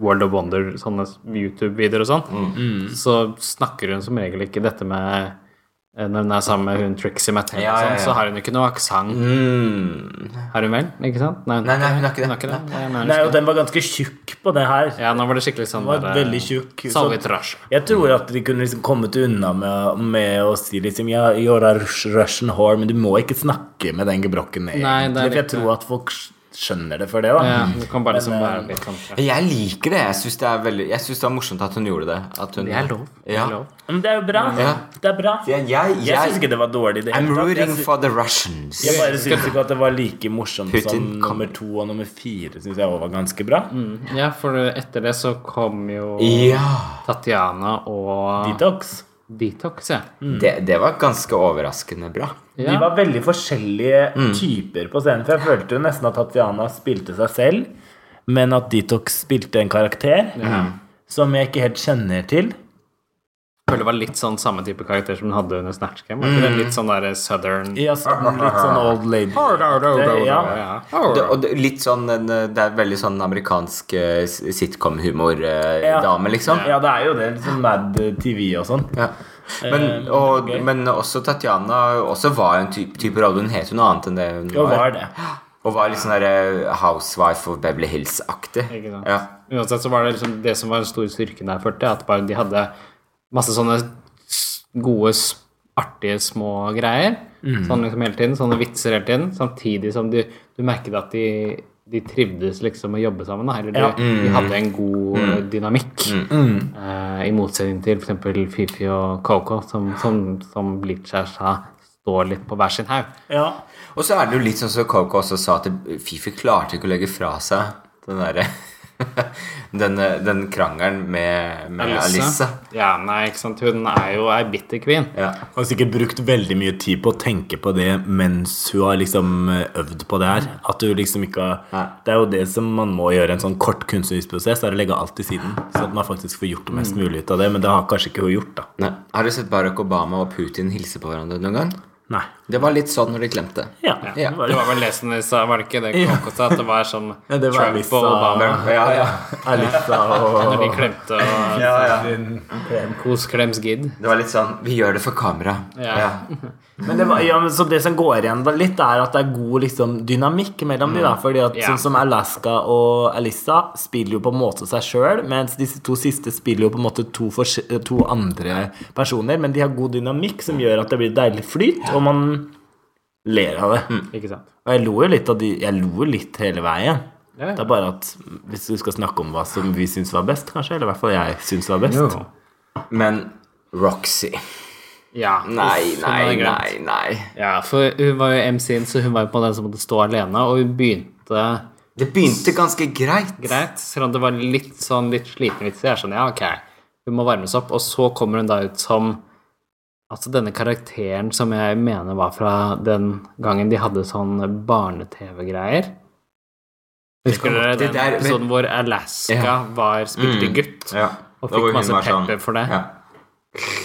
S2: World of Wonder, sånne YouTube-videoer og sånn, så snakker hun som regel ikke dette med eh, Når hun er sammen med hun Trixie Mattel,
S3: Ja,
S2: og
S3: ja,
S2: sånn,
S3: ja.
S2: så har hun ikke noe aksent.
S3: Mm.
S2: Har hun vel? Ikke sant? Nei,
S3: Nei, nei, hun har ikke det.
S2: det. Nei, jeg mener
S1: Nei, og
S2: ikke det.
S1: den var ganske tjukk på det her.
S2: Ja, nå var det skikkelig sånn
S1: Den var
S2: der, eh,
S1: veldig sånn. tjukk. Så
S2: Salgetrasje.
S1: jeg tror at de kunne liksom kommet unna med, med å si liksom Ja, you're a Rus- Russian whore, men du må ikke snakke med den gebrokken egentlig.
S2: Nei, det er
S1: for jeg
S2: litt-
S1: tror at folk skjønner det for det, da.
S2: Ja, du kan bare liksom
S1: Men, eh,
S2: være litt sånn ja.
S3: Jeg liker det. Jeg syns det, er veldig- jeg synes det er morsomt at hun gjorde det. At hun,
S2: Det er lov. Det
S3: Ja.
S2: er lov.
S1: Men det er jo bra.
S3: Ja.
S1: Det er bra.
S3: Jeg, jeg,
S1: Jeg syns
S3: jeg,
S1: ikke det var dårlig. i Det,
S3: I'm
S1: hele tatt.
S3: rooting
S1: Jeg sy-
S3: for the Russians.
S1: Jeg bare syns ikke at det var like morsomt som
S3: Putin kom.
S1: nummer to og nummer fire. Syns jeg også var ganske bra.
S2: Mm. Ja, for etter det så kom jo
S3: Ja.
S2: Tatjana og
S1: Detox. Mm.
S2: Detox, ja.
S3: Det, det var ganske overraskende bra.
S1: De
S2: ja.
S1: var veldig forskjellige typer på scenen. For jeg følte jo nesten at Tatjana spilte seg selv, men at Detox spilte en karakter som jeg ikke helt kjenner til.
S2: Jeg føler det var litt sånn samme type karakter som hun hadde under Snatch Game. var ikke det? Litt sånn der southern
S1: Mm. Ja, sånn, litt sånn old lady.
S2: Ja.
S1: Ja.
S3: Det, og det, litt sånn, en, det er veldig sånn amerikansk eh, s-
S1: Ja.
S3: sitcom-humor-dame, liksom.
S1: Ja, det er jo det. Litt sånn Mad TV og sånn.
S3: Ja.
S1: eh,
S3: Men, og, men også Tatjana også var en type, type rolle. Hun het jo noe annet enn det hun
S1: Jo,
S3: var.
S1: var det.
S3: Og var litt sånn der eh, Housewife of Beverly Hills-aktig.
S2: Ikke sant?
S3: Ja.
S2: Uansett så var det liksom det som var den store styrken der, følte jeg, at bare de hadde masse sånne s- gode, s- artige små greier. Sånn liksom hele tiden, sånne vitser hele tiden, samtidig som de, du merket at de, de trivdes liksom å jobbe sammen. Da. Eller de,
S1: Ja.
S2: de hadde en god eh, dynamikk. Eh, I motsetning til f.eks. Fifi og Coco, som, som, som Bleacher sa står litt på hver sin haug.
S1: Ja.
S3: Og så er det jo litt sånn som Coco også sa, at Fifi klarte ikke å legge fra seg den derre den, den krangelen med, med Alissa.
S2: Ja, nei, ikke sant. Hun er jo ei bitter queen.
S3: Ja.
S1: Hun har sikkert brukt veldig mye tid på å tenke på det mens hun har liksom øvd på det her. At du liksom ikke
S3: Nei.
S1: har Det er jo det som man må gjøre i en sånn kort kunstnerisk prosess, er å legge alt til siden. Så at man faktisk får gjort det mest mulig ut av det. Men det har kanskje ikke hun gjort, da.
S3: Nei. Har du sett Barack Obama og Putin hilse på hverandre noen gang?
S1: Nei.
S3: Det var litt sånn når de klemte.
S1: Ja.
S3: Ja.
S2: Det var vel det som de sa, var det ikke det Coco sa? At det var sånn
S1: Ja, det var
S2: Trump
S1: Lisa-
S2: og Obama
S3: Ja, ja.
S1: Alissa
S2: når
S1: og
S2: de klemte og
S3: ja, ja.
S2: Kos klems gidd.
S3: Det var litt sånn Vi gjør det for kamera.
S2: Ja.
S1: men det, var, ja, men så det som går igjen da litt, er at det er god liksom, dynamikk mellom de da. Fordi at
S2: Mm. Ja.
S1: sånn som Alaska og Alissa spiller jo på en måte seg sjøl, mens disse to siste spiller jo på en måte to, fors- to andre personer. Men de har god dynamikk som gjør at det blir deilig flyt, og man ler av det.
S2: Ikke sant?
S1: Og jeg lo jo litt av de Jeg lo jo litt hele veien.
S2: Ja, ja.
S1: Det er bare at hvis du skal snakke om hva som vi syns var best, kanskje, eller i hvert fall jeg syns var best
S3: Men Roxy
S2: Ja.
S3: Nei,
S2: uff, hun hadde
S3: nei,
S2: glemt.
S3: nei, nei.
S2: Ja, for hun var jo MC-en, så hun var jo på den som måtte stå alene, og hun begynte
S3: Det begynte ganske greit.
S2: greit, selv om det var litt sånn litt slitne vitser. Jeg er sånn, ja, ok, hun må varmes opp, og så kommer hun da ut som Altså denne karakteren som jeg mener var fra den gangen de hadde sånn barne-TV-greier. Husker dere
S3: Det
S2: den
S3: der- men-
S2: episoden hvor Alaska
S3: Ja.
S2: var spilte
S3: Mm.
S2: gutt?
S3: Ja.
S2: Og
S3: Da
S2: fikk
S3: hvor hun
S2: masse
S3: var sånn-
S2: pepper for det.
S3: Ja.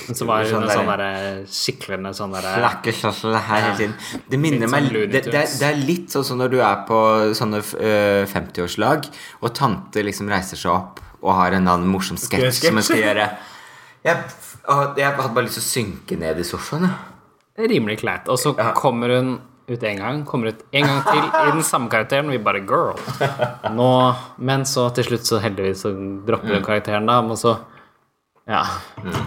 S2: Men så var
S3: Sånn
S2: hun en
S3: der-
S2: sånn derre skiklende sånn derre
S3: Flakker sånn som det her hele tiden. Det minner
S2: Litt
S3: meg
S2: sånn Looney
S3: det, det, er,
S2: Tunes.
S3: det er litt sånn som når du er på sånne øh, 50-årslag, og tante liksom reiser seg opp og har en eller annen morsom sketsj som hun skal gjøre. Jeg, og jeg hadde bare lyst til å synke ned i sofaen. jeg.
S2: rimelig kleint. Og så kommer hun ut en gang, kommer ut en gang til i den samme karakteren, og vi bare girl. Nå, men så til slutt så heldigvis så dropper hun karakteren, da, men så ja.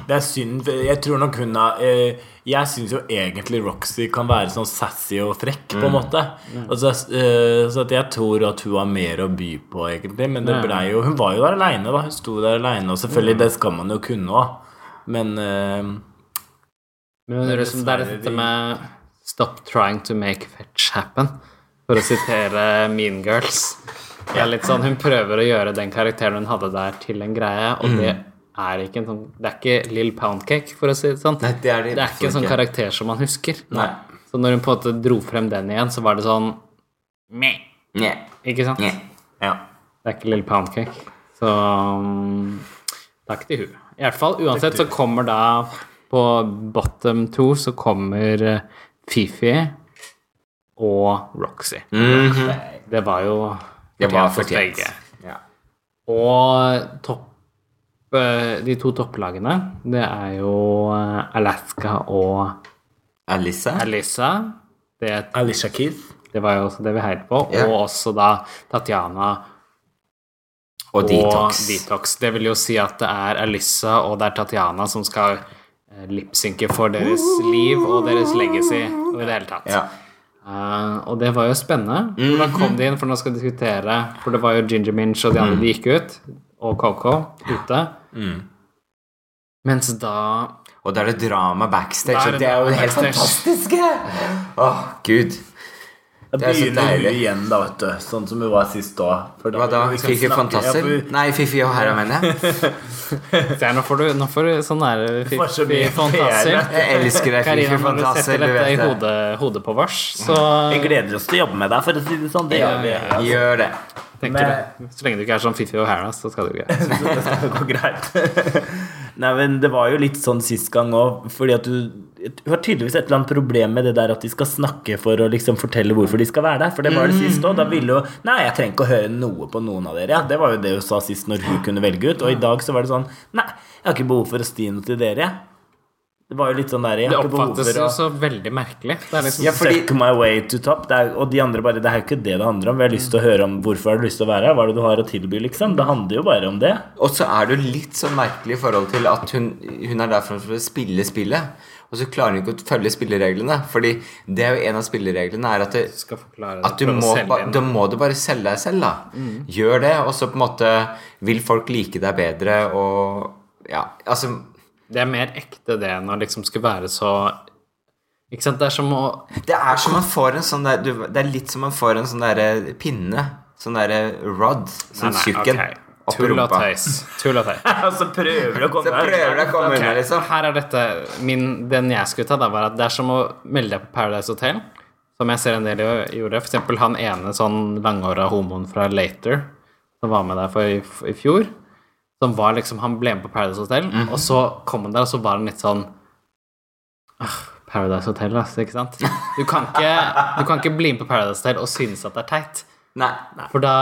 S1: Det er synd. for Jeg tror nok hun har eh, Jeg syns jo egentlig Roxy kan være sånn sassy og frekk,
S3: Mm.
S1: på en måte. Og så, eh, så at jeg tror at hun har mer å by på, egentlig. Men
S3: Mm.
S1: det blei jo Hun var jo der aleine, da. Hun sto der aleine. Og selvfølgelig, det skal man jo kunne òg. Men eh,
S2: Men det er liksom, det er dette med Stop trying to make fetch happen, for å sitere Mean Girls. Det er litt sånn, hun prøver å gjøre den karakteren hun hadde der, til en greie, og det
S3: Mm.
S2: er ikke en sånn Det er ikke Lill Poundcake, for å si det sånn.
S3: Nei, det er det
S2: det er ikke en sånn
S3: ikke.
S2: karakter som man husker.
S3: Nei.
S2: Så når hun på en måte dro frem den igjen, så var det sånn Meh.
S3: Nye.
S2: Ikke sant?
S3: Nye.
S1: ja.
S2: Det er ikke Lill Poundcake. Så um, takk til hun. I hvert fall, uansett så kommer da på bottom two så kommer eh, Fifi og Roxy. Det var jo
S3: Mhm. Det var
S2: hos
S3: fortjent.
S2: begge.
S3: Ja.
S2: Og topp, eh, de to topplagene, det er jo eh, Alaska og
S3: Alissa?
S2: Alisa. Det,
S1: Alicia Keith.
S2: det var jo også det vi heiet på.
S3: Ja.
S2: Og også da Tatjana
S3: Og,
S2: og
S3: Detox.
S2: Detox. Det vil jo si at det er Alissa og det er Tatjana som skal eh, lipsynke for deres liv og deres legacy og i det hele tatt.
S3: Ja.
S2: Eh, og det var jo spennende. Hvordan kom de inn? For nå skal vi diskutere For det var jo Ginger Minch og de andre de gikk ut, og Coco ute. Mens da
S3: Og da er det drama backstage, og
S2: Da er det
S3: det er jo
S2: drama
S3: det helt
S2: backstage.
S3: fantastiske! Åh, gud.
S1: Da
S3: Det er så
S1: begynner hun
S3: deilig.
S1: igjen, da, vet du. Sånn som hun var sist da. For
S3: Hva da?
S1: vi kan
S3: Fifi
S1: snakke-
S3: Fantasser?
S1: Ja, for-
S3: Nei, Fifi og Herre, mener jeg.
S2: Se, nå får du, nå får du sånn der fi-
S1: får så
S2: fi-
S1: mye
S2: fantasier.
S1: PR.
S3: Jeg elsker deg,
S2: Karina,
S3: Fifi
S2: når du
S3: Fantasser.
S2: setter
S3: Du
S2: dette i
S3: vet det.
S2: hodet, hodet på vars, så
S1: Vi gleder oss til å jobbe med deg, for å si det sånn. Det gjør vi.
S2: Ja,
S3: Gjør det.
S2: tenker du Så lenge du ikke er sånn Fifi og Hera, så skal du ikke
S1: Så det skal gå greit. Nei, men Det var jo litt sånn sist gang òg, fordi at du Hun har tydeligvis et eller annet problem med det der at de skal snakke for å liksom fortelle hvorfor de skal være der. For det var det sist òg. Da
S2: Mm.
S1: ville hun Nei, jeg trenger ikke å høre noe på noen av dere. Ja, det var jo det hun sa sist når hun kunne velge ut. Og i dag så var det sånn Nei, jeg har ikke behov for å sti noe til dere. Det var jo litt sånn der Jeg
S2: Det
S1: har ikke behov for
S2: oppfattes
S1: å
S2: jo så veldig merkelig. Det er liksom
S1: ja, fordi... Suck my way to top. Det er, og de andre bare Det er jo ikke det det handler om. Vi har lyst til å høre om hvorfor har du lyst til å være her. Hva er det du har å tilby, liksom? Det handler jo bare om det.
S3: Og så er det jo litt sånn merkelig i forhold til at hun, hun er der for å spille spillet, og så klarer hun ikke å følge spillereglene. Fordi det er jo en av spillereglene er at det,
S2: skal forklare
S3: at du
S2: prøve å
S3: må,
S2: selge Mm.
S3: ba-
S2: inn.
S3: da må du bare selge deg selv, da. Gjør det, og så på en måte vil folk like deg bedre og Ja, altså
S2: Det er mer ekte det enn å liksom skulle være så Ikke sant? Det er som å
S3: Det er som man får en sånn der du, Det er litt som man får en sånn derre pinne. Sånn derre rod. Sånn
S2: Nei, nei,
S3: tjukken.
S2: ok.
S3: Opp i
S2: Tull og
S3: rumpa.
S2: tøys. Tull og tøys.
S1: Og så prøver du å
S3: Så
S1: komme
S3: prøver du å komme unna,
S2: Ok,
S3: liksom.
S2: Her er dette min, Den jeg skulle ta, da, var at det er som å melde deg på Paradise Hotel, som jeg ser en del gjø- gjorde. For eksempel han ene sånn langhåra homoen fra Later, som var med der for i, f- i fjor. Som var liksom Han ble med på Paradise Hotel, og så kom han der, og så var han litt sånn «Ah, Paradise Hotel, altså, ikke sant? Du kan ikke, du kan ikke bli med på Paradise Hotel og synes at det er teit.
S3: Nei.
S2: For da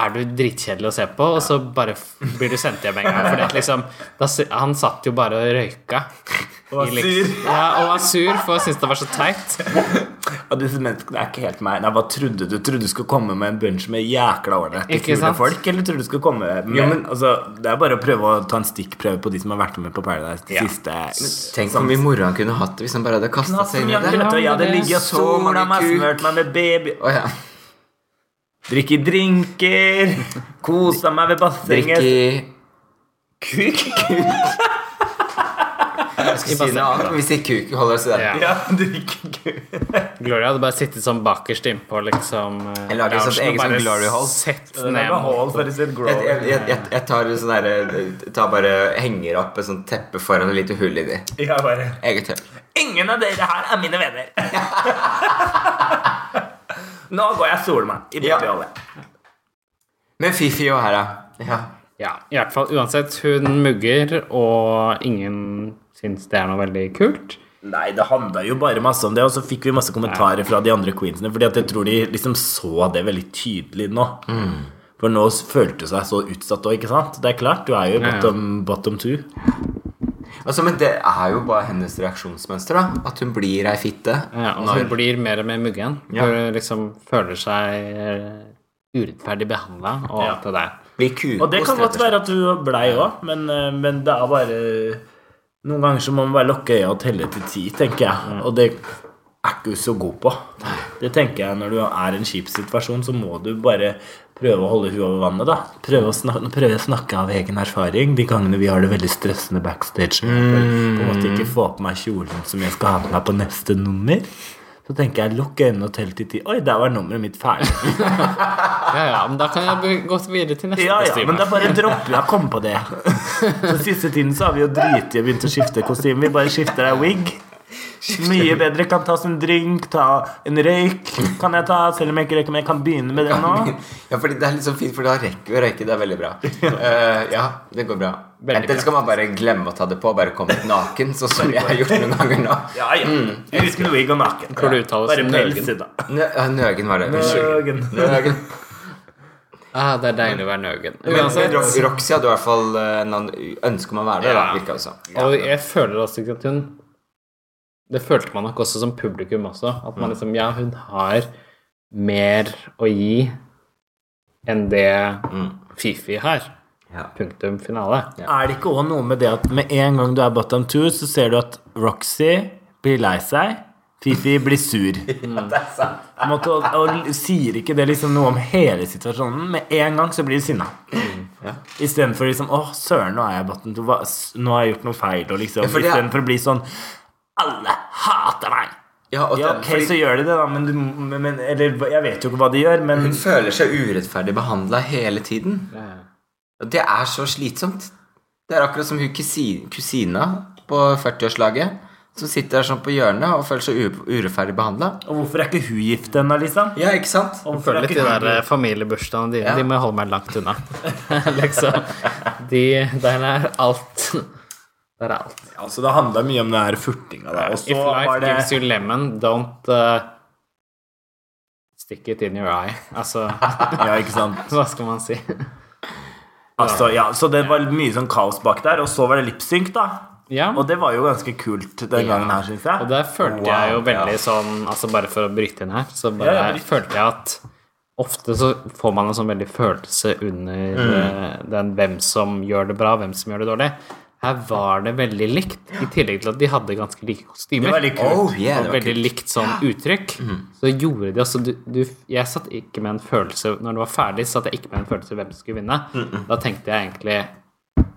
S2: er du dritkjedelig å se på, og så bare f- blir du sendt hjem en gang. For det er liksom, da, s- han satt jo bare og røyka. Og
S1: var sur.
S2: Ja, og var sur, for han syntes det var så teit.
S1: Og disse menneskene er ikke helt meg. Nei, hva trodde du? Trodde du skulle komme med en bunch med jækla ålreite,
S2: Ikke
S1: kule
S2: sant?
S1: folk? Eller trodde du skulle komme med men, altså, Det er bare å prøve å ta en stikkprøve på de som har vært med på Paradise de
S2: Ja.
S1: siste Men
S3: Tenk hvor mye moro han kunne hatt det hvis han bare hadde kasta seg inn i det.
S1: Jeg hadde ligget og
S3: Så
S1: sola
S3: mange
S1: meg,
S3: kuk.
S1: smørt meg med baby
S3: Å ja.
S1: Drikke drinker, kosa meg ved
S3: Drikk
S1: bassenget
S3: i
S1: Kuk!
S3: Jeg skal si noe annet, men vi sier kuk. Holder oss til det.
S2: Ja.
S1: Ja, drikke kuk.
S2: Gloria hadde bare sittet sånn bakerst innpå, liksom. eh,
S3: Jeg lager et sånt
S2: loungen og
S3: eget sånn
S2: bare
S3: Glory-hold.
S2: Sett
S1: Det er bare
S2: ned.
S1: hold for å si
S3: Jeg, jeg,
S1: grow.
S3: jeg, jeg, jeg tar en sånn derre jeg tar bare Henger opp et sånt teppe foran et lite hull i det.
S1: Ja, bare
S3: Eget hull.
S1: Ingen av dere her er mine venner. Nå går jeg og soler meg i
S3: Ja.
S1: babyolje.
S3: Men Fifi og Hera. Ja.
S2: Ja, i hvert fall. Uansett, hun mugger, og ingen syns det er noe veldig kult.
S1: Nei, det handla jo bare masse om det, og så fikk vi masse kommentarer fra de andre queensene, fordi at jeg tror de liksom så det veldig tydelig nå. Mm. For nå s- følte hun seg så utsatt òg, ikke sant? Det er klart, du er jo
S2: ja.
S1: bottom, bottom two.
S3: Altså, men det er jo bare hennes reaksjonsmønster. da At hun blir ei fitte.
S2: Ja, Eh, og
S3: når-
S2: hun blir mer og mer muggen.
S3: Ja.
S2: Hun liksom føler seg eh, urettferdig behandla og alt det der.
S3: Blir kukost,
S1: Og det kan godt være at du blei òg, men, eh, men det er bare Noen ganger så må man bare lukke øya og telle til ti, tenker jeg. Og det er ikke du så god på. Det tenker jeg Når du er i en kjip situasjon, så må du bare prøve å holde huet over vannet. da Prøve å snakke, prøve å snakke av egen erfaring de gangene vi har det veldig stressende backstage. og jeg På en måte ikke få på meg kjolen som jeg skal ha på meg på neste nummer. Så tenker jeg lukk øynene og tell til ti. Oi, der var nummeret mitt ferdig.
S2: Ja, ja, men da kan jeg be- gå videre til neste
S1: Ja, ja,
S2: kostyme.
S1: men da bare dropper jeg å komme på det. Den siste tiden så har vi jo driti i å begynne å skifte kostyme. Vi bare skifter ei wig. Mye bedre. Kan tas en drink, ta en røyk. Kan jeg ta, selv om jeg ikke røyker, men jeg kan begynne med det nå.
S3: Ja, fordi det er litt sånn fint, for da rekker vi å røyke. Det er veldig bra. Eh, ja, det går bra.
S2: Veldig
S3: Enten
S2: bra.
S3: skal man bare glemme å ta det på, bare komme ut naken, sånn som jeg har gjort noen ganger nå.
S1: Ja, ja. Uten Mm. wig og naken.
S2: Kan du uttale oss
S1: Bare
S2: om
S1: pels
S2: Nøgen?
S1: i, da.
S3: Nø ja, nøgen var det. Unnskyld.
S1: Nøgen.
S3: Nøgen.
S2: Ah, det er deilig å være nøgen.
S3: Men
S2: Uansett.
S3: Ro- Roxy hadde i hvert fall eh, noen ønske om å være det. da,
S2: Ja.
S3: virket det som.
S2: Og jeg føler også ikke at hun Det følte man nok også som publikum også. At man liksom Ja, hun har mer å gi enn det Fifi har.
S3: Ja.
S2: Punktum finale.
S1: Er det ikke òg noe med det at med en gang du er bottom two, så ser du at Roxy blir lei seg, Fifi blir sur.
S3: Det er sant.
S1: På en måte, og, og sier ikke det liksom noe om hele situasjonen? Med en gang så blir de sinna.
S3: Mm,
S1: Istedenfor liksom Å, søren, nå er jeg bottom two. Hva, s- nå har jeg gjort noe feil. Og liksom
S3: Ja, for det er-
S1: Istedenfor å bli sånn Alle hater meg!
S3: Ja, og
S1: Ja,
S3: det-
S1: ok,
S3: fordi-
S1: så gjør de det, da, men, du, men men- Eller jeg vet jo ikke hva de gjør, men
S3: Hun føler seg urettferdig behandla hele tiden. Og det er så slitsomt. Det er akkurat som hun kusi- kusina på 40-årslaget som sitter der sånn på hjørnet og føler seg u- urettferdig behandla.
S1: Og hvorfor er ikke hun gift ennå, liksom?
S3: Ja, ikke sant?
S1: Og
S2: Jeg
S1: hvorfor er
S2: føler litt
S1: ikke
S2: de
S1: hun-
S2: der eh, familiebursdagene dine.
S3: Ja.
S2: De må jeg holde meg langt unna. liksom. De Der er alt. Der er alt.
S1: Ja, så det handla mye om det her furtinga der. Og så
S2: If life
S1: var det
S2: gives you lemon, don't eh, stick it in your eye. Altså,
S1: Ja, ikke sant?
S2: hva skal man si?
S1: Altså, ja, så det var mye sånn kaos bak der. Og så var det lipsynk, da.
S2: Ja.
S1: Og det var jo ganske kult den gangen her, syns
S2: Og
S1: jeg.
S2: der følte
S3: Wow,
S2: jeg jo veldig
S3: ja.
S2: sånn Altså bare for å bryte inn her, så bare
S1: Ja, ja, bryt.
S2: følte jeg at ofte så får man en sånn veldig følelse under
S1: Mm.
S2: eh, den hvem som gjør det bra, hvem som gjør det dårlig. Her var det veldig likt, i tillegg til at de hadde ganske like kostymer.
S1: Det var litt kult.
S3: Oh, yeah,
S2: og
S3: det var Mhm.
S2: veldig likt sånn uttrykk. Så gjorde de altså du, du, Jeg satt ikke med en følelse Når det var ferdig, satt jeg ikke med en følelse hvem som skulle vinne. Da tenkte jeg egentlig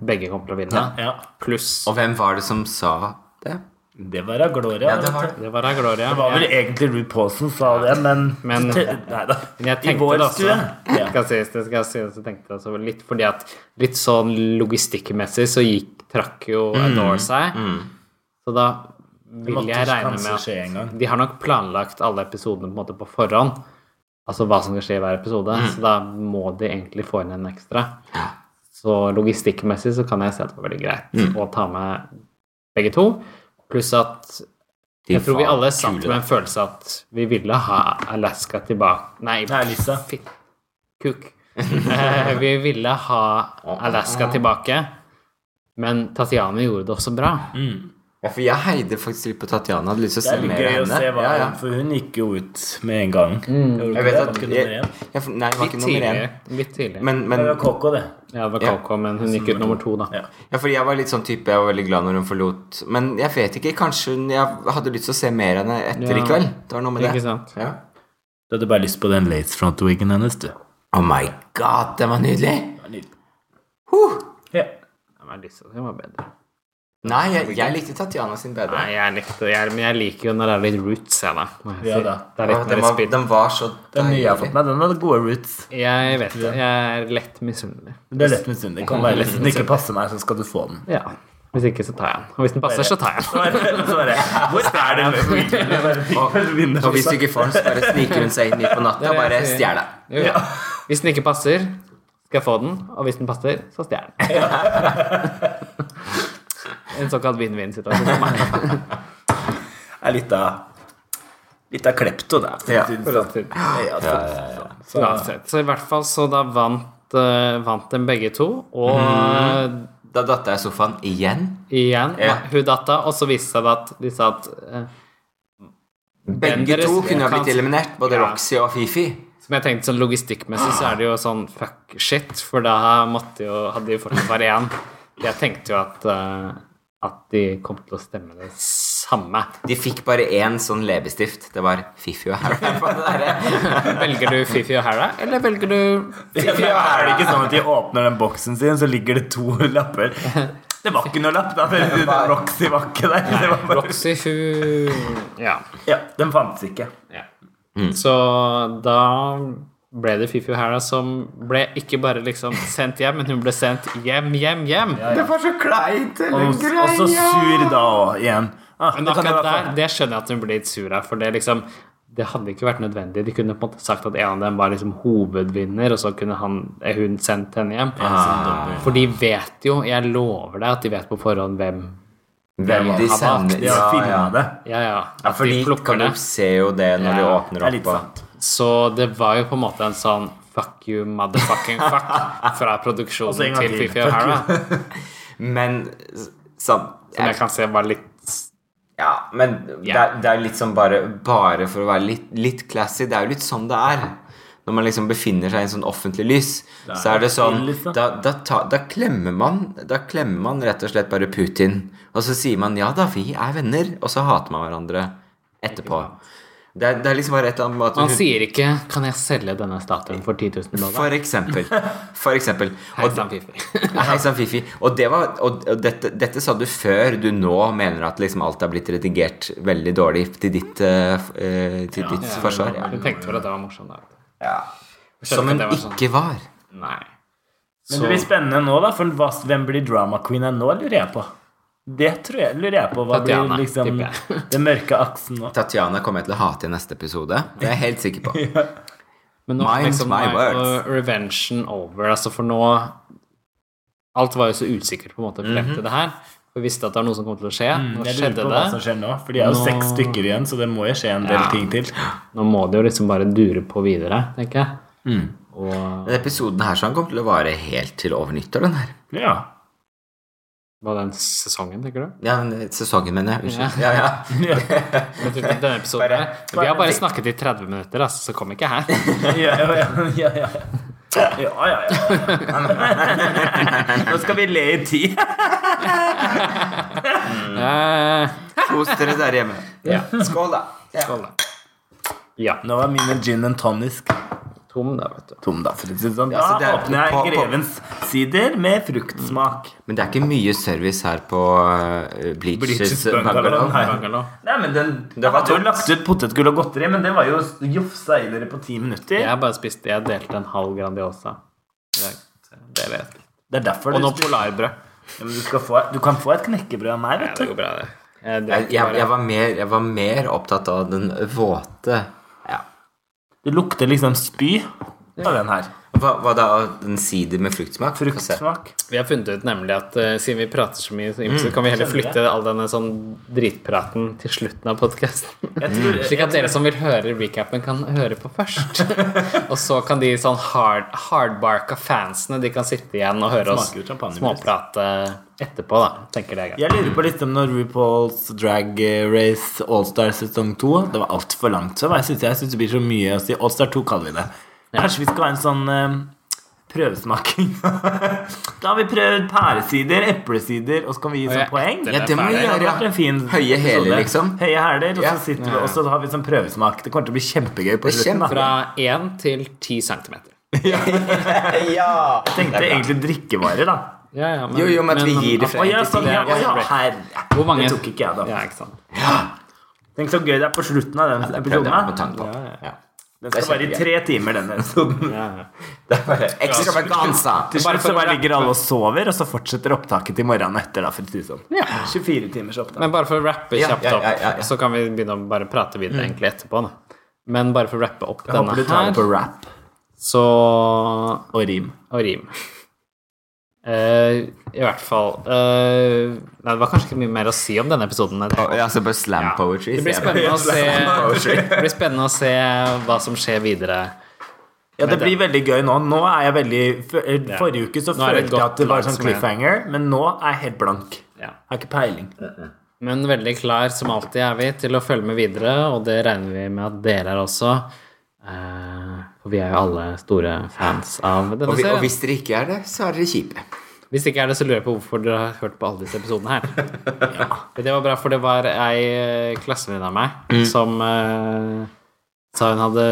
S2: begge kommer til å vinne.
S1: Ja,
S2: Pluss
S3: Og hvem var det som sa det?
S1: Det var av Gloria.
S3: Ja, det var
S1: vet du.
S3: det.
S2: Det var da Gloria.
S1: Det var vel egentlig Ruud Paulsen som sa det, men,
S2: Men-
S1: Nei da.
S2: Men jeg
S1: I
S2: tenkte
S1: vår
S2: det også.
S1: stue.
S2: Det
S1: Ja.
S2: skal sies, det skal sies, jeg tenkte altså litt fordi at litt sånn logistikkmessig så gikk, trakk jo
S3: Mm.
S2: Adore seg. Så da vil
S1: måtte
S2: jeg regne
S1: kanskje skje en
S2: med
S1: gang.
S2: at de har nok planlagt alle episodene på en måte på forhånd. Altså hva som skal skje i hver episode.
S3: Mm.
S2: Så da må de egentlig få inn en ekstra. Så logistikkmessig så kan jeg se at det var veldig greit
S3: Mm.
S2: å ta med begge to. Pluss at
S3: De
S2: jeg tror vi
S3: var
S2: alle satt
S3: kule.
S2: med en følelse at vi ville ha Alaska tilbake Nei,
S1: Nei, Lisa.
S2: fitt- Kuk. Eh, vi ville ha Alaska tilbake, men Tatiana gjorde det også bra.
S3: Ja, for jeg heide faktisk litt på Tatjana. Hadde lyst til å
S1: Det
S3: se mer
S1: er litt gøy å
S3: av henne.
S1: se hva
S3: Ja, ja.
S1: For hun gikk jo ut med en gang. Gjorde
S3: Jeg
S1: ikke
S3: vet
S1: det?
S3: at
S1: Var ikke
S3: jeg,
S1: nummer én?
S3: jeg, Nei, jeg var ikke nummer
S2: tidlig.
S3: én.
S2: Litt tidlig.
S3: Men,
S1: Det
S3: men
S1: var Coco, det.
S2: ja, det var
S3: Ja.
S2: Coco, men hun gikk ut nummer to, da.
S1: Ja.
S3: Ja, fordi jeg var litt sånn type Jeg var veldig glad når hun forlot Men jeg vet ikke, kanskje hun Jeg hadde lyst til å se mer av henne etter
S2: Ja.
S3: i kveld Det var noe med det
S2: Ikke sant?
S3: Ja.
S1: Du hadde bare lyst på den lace front-wiggen hennes, du.
S3: Oh my god, den var nydelig huh.
S1: Ja.
S2: Jeg var lyst til at hun var bedre.
S3: Nei, jeg, jeg likte Tatiana sin bedre
S2: Nei, jeg likte jeg, Men jeg liker jo når det er litt roots, jeg, da. må jeg
S1: Ja,
S2: si.
S1: da.
S2: Det er
S3: Åh,
S2: litt
S3: den,
S2: mer
S3: var,
S2: spill.
S3: den var så
S1: Den nye jeg har
S3: deilig
S1: fått meg, den hadde gode roots.
S2: Jeg vet det. Jeg er lett misunnelig.
S1: Det er lett misunnelig. Det Kan være lett. Hvis den ikke passer meg, så skal du få den.
S2: Ja. Hvis ikke, så tar jeg den. Og hvis den passer, så tar jeg den.
S1: Så er det- så er det, Hvor er det med Wikipedia?
S3: Og hvis du ikke får den, så bare sniker hun seg inn midt på natta
S2: Det
S3: Og
S2: er det
S3: bare
S2: jeg sier.
S3: stjeler
S2: Jo, ja. Hvis den ikke passer, skal jeg få den. Og hvis den passer, så stjeler jeg den. En såkalt vinn-vinn-situasjon. for meg.
S1: er litt av Litt av klepto, da.
S3: Ja.
S1: sånn. Ja, så- så-
S2: Uansett. Så i hvert fall så da vant eh, vant dem begge to, og Mhm.
S3: Da datte jeg i sofaen igjen
S2: igjen
S3: Ja.
S2: hun datta, og så viste det seg at de sa at eh,
S3: Begge
S2: deres-
S3: to kunne ha
S2: kan-
S3: blitt eliminert Både
S2: Ja.
S3: Roxy og Fifi
S2: Som jeg tenkte sånn logistikkmessig så er det jo sånn fuck shit, for da måtte jo, hadde de jo fortsatt bare én. Jeg tenkte jo at, eh, at de kom til å stemme det samme.
S3: De fikk bare en sånn lebestift Det var Fifi og Harry på det der
S2: Velger du Fifi og Hera, eller velger du
S1: Ja, men Er det ikke sånn at de åpner den boksen sin, så ligger det to lapper? Det var ikke noe lapp, da. for den Roxy var ikke der. Det var bare,
S2: Roxy Hu Ja.
S1: ja, den fantes ikke.
S2: Så da ble det Fifi og Hera som ble ikke bare liksom sendt hjem, men hun ble sendt hjem, hjem, hjem.
S3: Det var så kleint
S1: Og
S3: eller
S1: og så sur da òg, igjen. Ah,
S2: Men
S1: da kan det sånn-
S2: akkurat
S1: være
S2: der, det skjønner jeg at hun blir litt sur av, for det liksom det hadde ikke vært nødvendig. De kunne på en måte sagt at en av dem var liksom hovedvinner, og så kunne han, eh, hun sendt henne hjem.
S1: Ah.
S2: For de vet jo, jeg lover deg at de vet på forhånd hvem
S3: Hvem
S2: var
S3: de
S2: bak,
S3: sender
S1: De har filmet det.
S2: Ja, ja. At
S3: Ja, for
S2: de
S3: de
S2: plukker
S3: kan
S2: det.
S3: jo se jo det når de
S2: Ja,
S1: Det
S3: åpner
S1: er
S3: opp.
S1: litt sant.
S2: Så det var jo på en måte en sånn fuck you, motherfucking fuck fra
S1: Og så en
S2: produksjonen
S1: gang
S2: til
S1: til.
S2: Fifi O'Hara.
S3: og- Men s- sam,
S2: Som jeg kan se var litt
S3: Ja, men det,
S2: Ja.
S3: er- det er litt sånn bare, bare for å være litt, litt classy. Det er jo litt sånn det er. Når man liksom befinner seg i en sånn offentlig lys,
S1: er
S3: så er det sånn
S1: offentlig lys, da.
S3: da, da, ta, da, klemmer man, da klemmer man rett og slett bare Putin. Og så sier man 'ja da, vi er venner', og så hater man hverandre etterpå. Det er, det er liksom bare et eller annet med at
S2: Man
S3: hun-
S2: sier ikke 'Kan jeg selge denne statuen for 10 000 dollar?'
S3: For eksempel. For eksempel.
S2: Hei sann, Fifi.
S3: Hei sann, Fifi. Og, det var, og og dette, dette sa du før du nå mener at liksom alt er blitt redigert veldig dårlig til ditt, eh, f- eh, til ditt forsvar. Ja.
S2: Hun tenkte vel at det var morsomt. da.
S3: Som hun
S2: det var sånn.
S3: ikke var.
S2: Nei.
S1: Men det blir spennende nå, da. For hva, hvem blir drama queen her nå, lurer jeg på. Det tror jeg, lurer jeg på. Hva
S2: Tatiana,
S1: blir liksom
S2: tipper jeg.
S1: den mørke aksen nå?
S3: Tatiana kommer jeg til å hate i neste episode. Det er jeg helt sikker på.
S2: Men nå er
S3: Mind
S2: liksom
S3: my
S2: er
S3: words.
S2: jo revengen over. Altså for nå Alt var jo så usikkert på en måte frem til det her. Vi visste at det var noe som kom til å skje. Nå
S1: Jeg lurer
S2: skjedde
S1: på hva som
S2: det.
S1: skjer nå. For de er jo
S2: Nå-
S1: seks stykker igjen, så det må jo skje en del
S2: Ja.
S1: ting til.
S2: Nå må det jo liksom bare dure på videre, tenker jeg. Og
S3: Denne episoden her så han kommer til å vare helt til over nyttår, den her.
S1: Ja.
S2: hva den sesongen, tenker du?
S3: Ja, men eh, sesongen, mener jeg. Unnskyld. Ja, ja.
S2: Jeg tror ikke Denne episoden
S3: Bare-
S2: her. Vi har bare snakket i 30 minutter, altså, så kom ikke her.
S1: Ja, ja, ja. ja, ja. Ja, ja, ja. Nå skal vi le i ti.
S2: Eh,
S3: Kos dere der hjemme.
S2: Ja.
S3: Skål, da. Ja.
S2: ja.
S1: Nå var min en gin and tonisk
S2: Tom, da, vet du.
S1: tom, da. For å si det sånn. Da
S3: Ja, så det er-
S1: åpner
S3: på- på-
S1: jeg Grevens sider med fruktsmak.
S3: Men det er ikke mye service her på eh, Bleachers
S1: Bleachers Bungalow,
S3: Bungalow.
S1: nei.
S2: Bungalow.
S1: Nei, men den,
S3: Det var
S1: hadde jo
S3: tungt.
S1: lagt ut potetgull og godteri, men det var jo jofsa i dere på ti minutter.
S2: Jeg har bare spist Jeg delte en halv Grandiosa. Det det vet jeg.
S1: Det er derfor
S2: Og
S1: du,
S2: noe polarbrød.
S1: Ja, men du, skal få, du kan få et knekkebrød av meg,
S2: Ja, det
S1: vet
S2: går
S1: du.
S2: bra, det. Jeg,
S3: Jeg,
S2: drakk
S3: jeg,
S2: bare-
S3: jeg, var mer, jeg var mer opptatt av den våte ja.
S1: Det lukter liksom spy av den her.
S3: Hva, hva da? Den sider med fruktsmak? Få se.
S1: Fruktsmak.
S2: Vi har funnet ut nemlig at eh, siden vi prater så mye, så kan
S1: Mm,
S2: vi heller
S1: skjønner
S2: flytte all denne sånn dritpraten til slutten av podkasten.
S1: Jeg tror,
S2: Slik at dere som vil høre recapen, kan høre på først. og så kan de sånn hard, hardbarka fansene De kan sitte igjen og høre oss
S1: Smaker jo champagnebrus.
S2: småprate etterpå, da. Tenker det er greit.
S1: jeg lurer på litt om når RuPaul's Drag Race Allstar sesong 2 Det var altfor langt. Så jeg syns jeg synes det blir så mye å si. Allstar 2 kaller vi det. Kanskje vi skal ha en sånn eh, prøvesmaking. da har vi prøvd pæresider, eplesider, og så kan vi gi
S2: jeg
S1: sånn poeng.
S2: etter
S3: Ja, det må vi
S2: Det
S1: Det
S3: gjøre.
S1: hadde vært
S3: ja.
S1: en fin
S3: Høye hæler,
S1: episode.
S3: liksom.
S1: Høye hæler, og
S3: Ja.
S1: så sitter vi og så har vi sånn prøvesmak. Det kommer til å bli kjempegøy på
S3: Det er
S1: slutten. da.
S2: Fra 1 til 10 centimeter.
S3: Ja.
S1: Jeg tenkte egentlig drikkevarer, da.
S2: Ja, ja, men,
S3: Jo, jo, men at vi gir det
S1: Å
S3: fra
S1: ja,
S3: en til
S1: sånn, ja, å, ja,
S2: ja.
S1: her.
S2: Hvor mange-
S1: Det tok ikke jeg, da.
S2: Ja, ikke sant.
S1: Tenk så gøy det er på slutten av den
S3: Jeg prøvde meg på
S1: episoden.
S3: tannpop. Ja.
S1: Den
S3: Det er
S1: skal være i
S3: kjempegøy.
S1: tre timer, den episoden.
S2: Ja, ja.
S3: Det er bare ekstravaganza.
S1: Til
S2: Bare
S1: slutt
S2: for
S1: så
S2: å
S1: bare
S2: rappe.
S1: ligger alle og sover, og så fortsetter opptaket til morgenen etter, da, for å si det sånn. 24 timers opptak.
S2: Men bare for å rappe
S3: Ja,
S2: kjapt
S3: ja,
S2: opp,
S3: ja, ja, Mm. ja.
S2: så kan vi begynne å bare prate videre egentlig etterpå. Da. Men bare for å rappe opp
S1: Jeg håper du
S2: denne
S1: tar det på
S2: her,
S1: rap
S2: så
S1: og rim.
S2: Og rim. Eh, I hvert fall eh, Nei, det var kanskje ikke mye mer å si om denne episoden. men Det
S3: Ja, så bare slam poetry.
S2: det blir
S3: sier jeg.
S2: spennende å se,
S3: Poetry.
S2: det blir spennende å se hva som skjer videre.
S1: Ja, det
S2: Men
S1: blir veldig gøy nå. Nå er jeg veldig for, eh,
S2: Ja.
S1: Forrige uke så
S2: Nå
S1: følte
S2: er det
S1: jeg
S2: godt
S1: at det var
S2: lag
S1: sånn
S2: som er-
S1: cliffhanger, men nå er jeg helt blank.
S2: Ja.
S1: Har ikke peiling.
S2: Men veldig klar som alltid er vi til å følge med videre, og det regner vi med at dere er også. Eh, for vi er jo alle store fans av denne
S3: Og, vi, og
S2: serien.
S3: hvis dere ikke er det, så er dere kjipe.
S2: Hvis ikke er det, så lurer jeg på hvorfor dere har hørt på alle disse episodene her. Men Det var bra, for det var ei eh, klassevenninne av meg som eh, sa hun hadde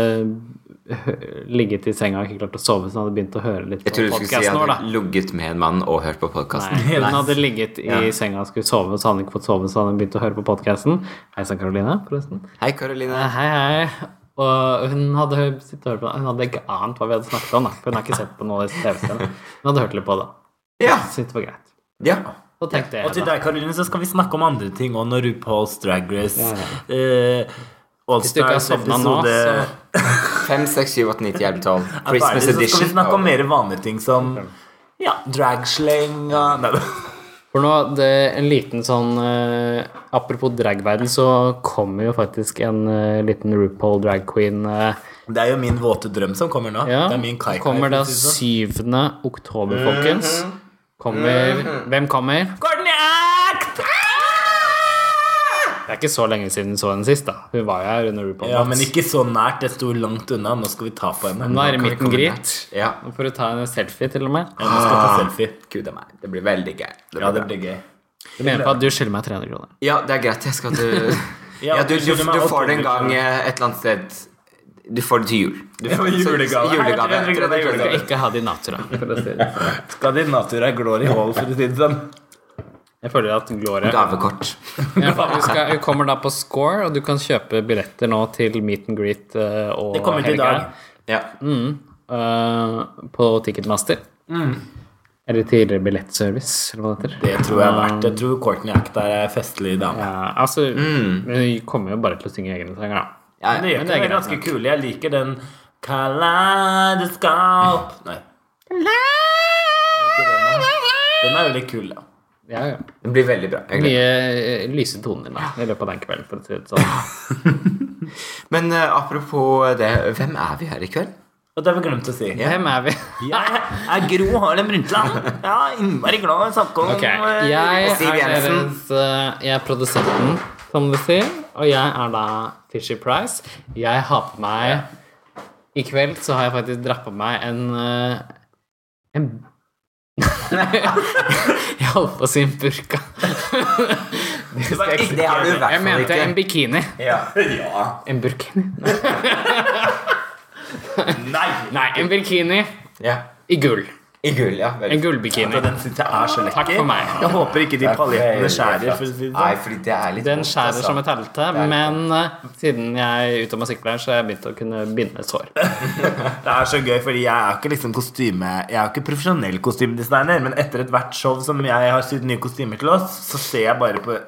S2: hø- ligget i senga og ikke klart å sove, så hun hadde begynt å høre litt
S3: Jeg
S2: på
S3: trodde du skulle si
S2: podkasten
S3: at
S2: vår, da.
S3: jeg ligget med en mann og hørt på podkasten.
S2: Nei, hun hadde ligget i senga og skulle sove, så hadde hun ikke fått sove, så hadde hun begynt å høre på podkasten. Hei sann, Karoline, forresten.
S3: Hei, Karoline.
S2: Eh, Hei, hei. Og hun hadde, hø- sittet og hørt på, hun hadde ikke ant hva vi hadde snakket om, da. for hun har ikke sett på noen av disse TV-seriene. Hun hadde hørt litt på det.
S3: Ja.
S2: Så det var greit.
S3: ja.
S2: Så tenkte jeg
S1: Og til
S2: da.
S1: deg, Karoline, så skal vi snakke om andre ting òg, når RuPaul's Drag Race
S2: Ja,
S1: eh,
S2: Hvis du ikke har
S1: Allstars
S2: sovna nå,
S1: episode
S2: så
S3: 5, 6, 7, 8, 9, 10, 11, 12. Christmas
S1: er ferdig, så skal vi
S3: edition.
S1: snakke om mer vanlige ting som ja, dragslenga Nei, da.
S2: For nå, det, en liten sånn eh, Apropos dragverden, så kommer jo faktisk en eh, liten RuPaul drag queen eh,
S1: Det er jo min våte drøm som kommer nå.
S2: Ja,
S1: det er min kai-kai.
S2: kommer da
S1: for å si det sånn.
S2: 7. oktober, folkens. Kommer Hvem kommer?
S1: Courtney Act! Ah!
S2: Det er ikke så lenge siden vi så henne sist, da. Hun var jo her under RuPaul.
S1: Ja,
S2: Natt.
S1: men ikke så nært. Det sto langt unna. Nå skal vi ta på henne.
S2: Hun var i
S3: Kan vi
S2: midten
S3: komme
S2: grit.
S3: der? Ja.
S2: For å ta en selfie, til og med.
S1: Ja, nå skal jeg ta selfie.
S3: Gud a meg. Det blir veldig gøy. Det blir
S1: Ja, det
S3: bra.
S1: blir gøy.
S2: Jeg mener på at du skylder meg 300 kroner.
S3: ja, det er greit. Jeg skal at du
S1: Ja,
S3: Ja, du, du, du,
S1: skylder meg
S3: får det en
S1: 800
S3: gang eh, et eller annet sted Du får det til jul. Du får
S1: men
S3: det som-
S1: julegave.
S3: julegave.
S1: 300 kroner er
S2: Jeg
S1: julegave.
S2: skal ikke ha de natura.
S1: Skal din natur ha glory hall, for å si det sånn?
S2: Jeg føler at Gloria
S3: Gavekort.
S2: ja, for vi skal, vi kommer da på Score, og du kan kjøpe billetter nå til meet and greet eh, og Mm.
S1: Det kommer til i dag.
S3: Ja.
S2: eh, på Ticketmaster. Eller tidligere Billettservice, eller hva det heter.
S1: Mm. Det tror jeg er verdt. Jeg tror Courtney Act er ei festlig dame.
S2: Ja, altså, vi kommer jo bare til å synge egne sanger, da.
S3: Ja,
S1: Men det gjør
S2: men
S1: ikke
S2: det er
S1: det er ganske kule. Jeg liker den Kaleidoskop Nei. Jeg liker Den da. Den er veldig kul, da.
S2: Ja, ja.
S3: Det blir veldig bra. Jeg gleder meg.
S2: Mye eh, lyse toner da, i løpet av den kvelden, for å si det sånn.
S3: Men eh, apropos det, hvem er vi her i kveld?
S1: Og det har vi glemt å si.
S2: Hvem er vi?
S1: Jeg er Gro Harlem Brundtland. Jeg er innmari glad i å snakke om
S2: Ok,
S1: eh,
S2: jeg
S3: Og Siv
S2: er
S3: Jensen.
S2: deres eh, Jeg er produsenten, som du sier. Og jeg er da Fisher Price. Jeg har på meg I kveld så har jeg faktisk dratt på meg en eh, En Jeg holdt på å si en burka. det, skal jeg ikke si.
S3: Det har du i
S2: Jeg
S3: hvert fall
S2: mente en
S3: ikke.
S2: bikini.
S1: Ja. ja.
S2: En burkini?
S1: Nei!
S2: Nei, en bikini
S3: Ja.
S2: i gull.
S3: I gull, ja. veldig.
S2: En gullbikini.
S1: Så den syns jeg er så lekker.
S2: Takk for meg.
S1: Jeg håper ikke de paljettene skjærer. For å si det
S3: Nei,
S1: sånn.
S3: fordi det er litt
S2: Den
S3: vondt,
S2: skjærer
S3: altså.
S2: som et helte, men eh, siden jeg er utdanna sykepleier, så har jeg begynt å kunne binde sår.
S1: Det er så gøy, fordi jeg er ikke liksom kostyme Jeg er jo ikke profesjonell kostymedesigner, men etter ethvert show som jeg har sydd nye kostymer til oss, så ser jeg bare på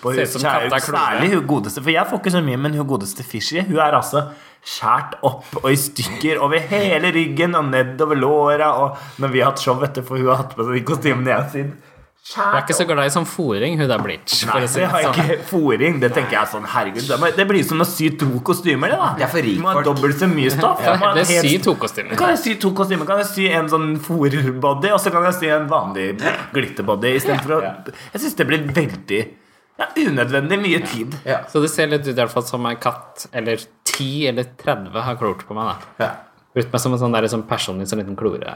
S1: på hun
S2: Ser ut som
S1: kjære-
S2: katta Klove.
S1: særlig hun godeste, for jeg får ikke så mye, men hun godeste Fishy Hun er altså skjært opp og i stykker over hele ryggen og nedover låra. Og når vi har hatt show, vet du, for hun har hatt på seg de kostymene jeg har sydd.
S2: Jeg er ikke så glad i sånn foring, hun der bleach.
S1: Nei,
S2: For å si
S1: det
S2: det
S1: har jeg
S2: sånn.
S1: ikke fòring. Det tenker jeg er sånn, herregud det må- Det blir som å sy to kostymer, det, da.
S3: Det er for
S1: Du må ha
S3: rikfolk.
S1: dobbelt så mye stoff. Du må ha
S2: Det
S1: et helt
S2: syr to kostymer.
S1: kan jeg sy to kostymer. Kan jeg sy en sånn fòrbody, og så kan jeg sy en vanlig glitterbody istedenfor å Jeg syns det blir veldig ja, unødvendig mye tid.
S3: Ja.
S2: Så det ser litt ut i hvert fall som en katt eller 10 eller 30 har klort på meg. da.
S3: Ja.
S2: Brukt meg som en sånn der, sånn personlig sånn liten klore.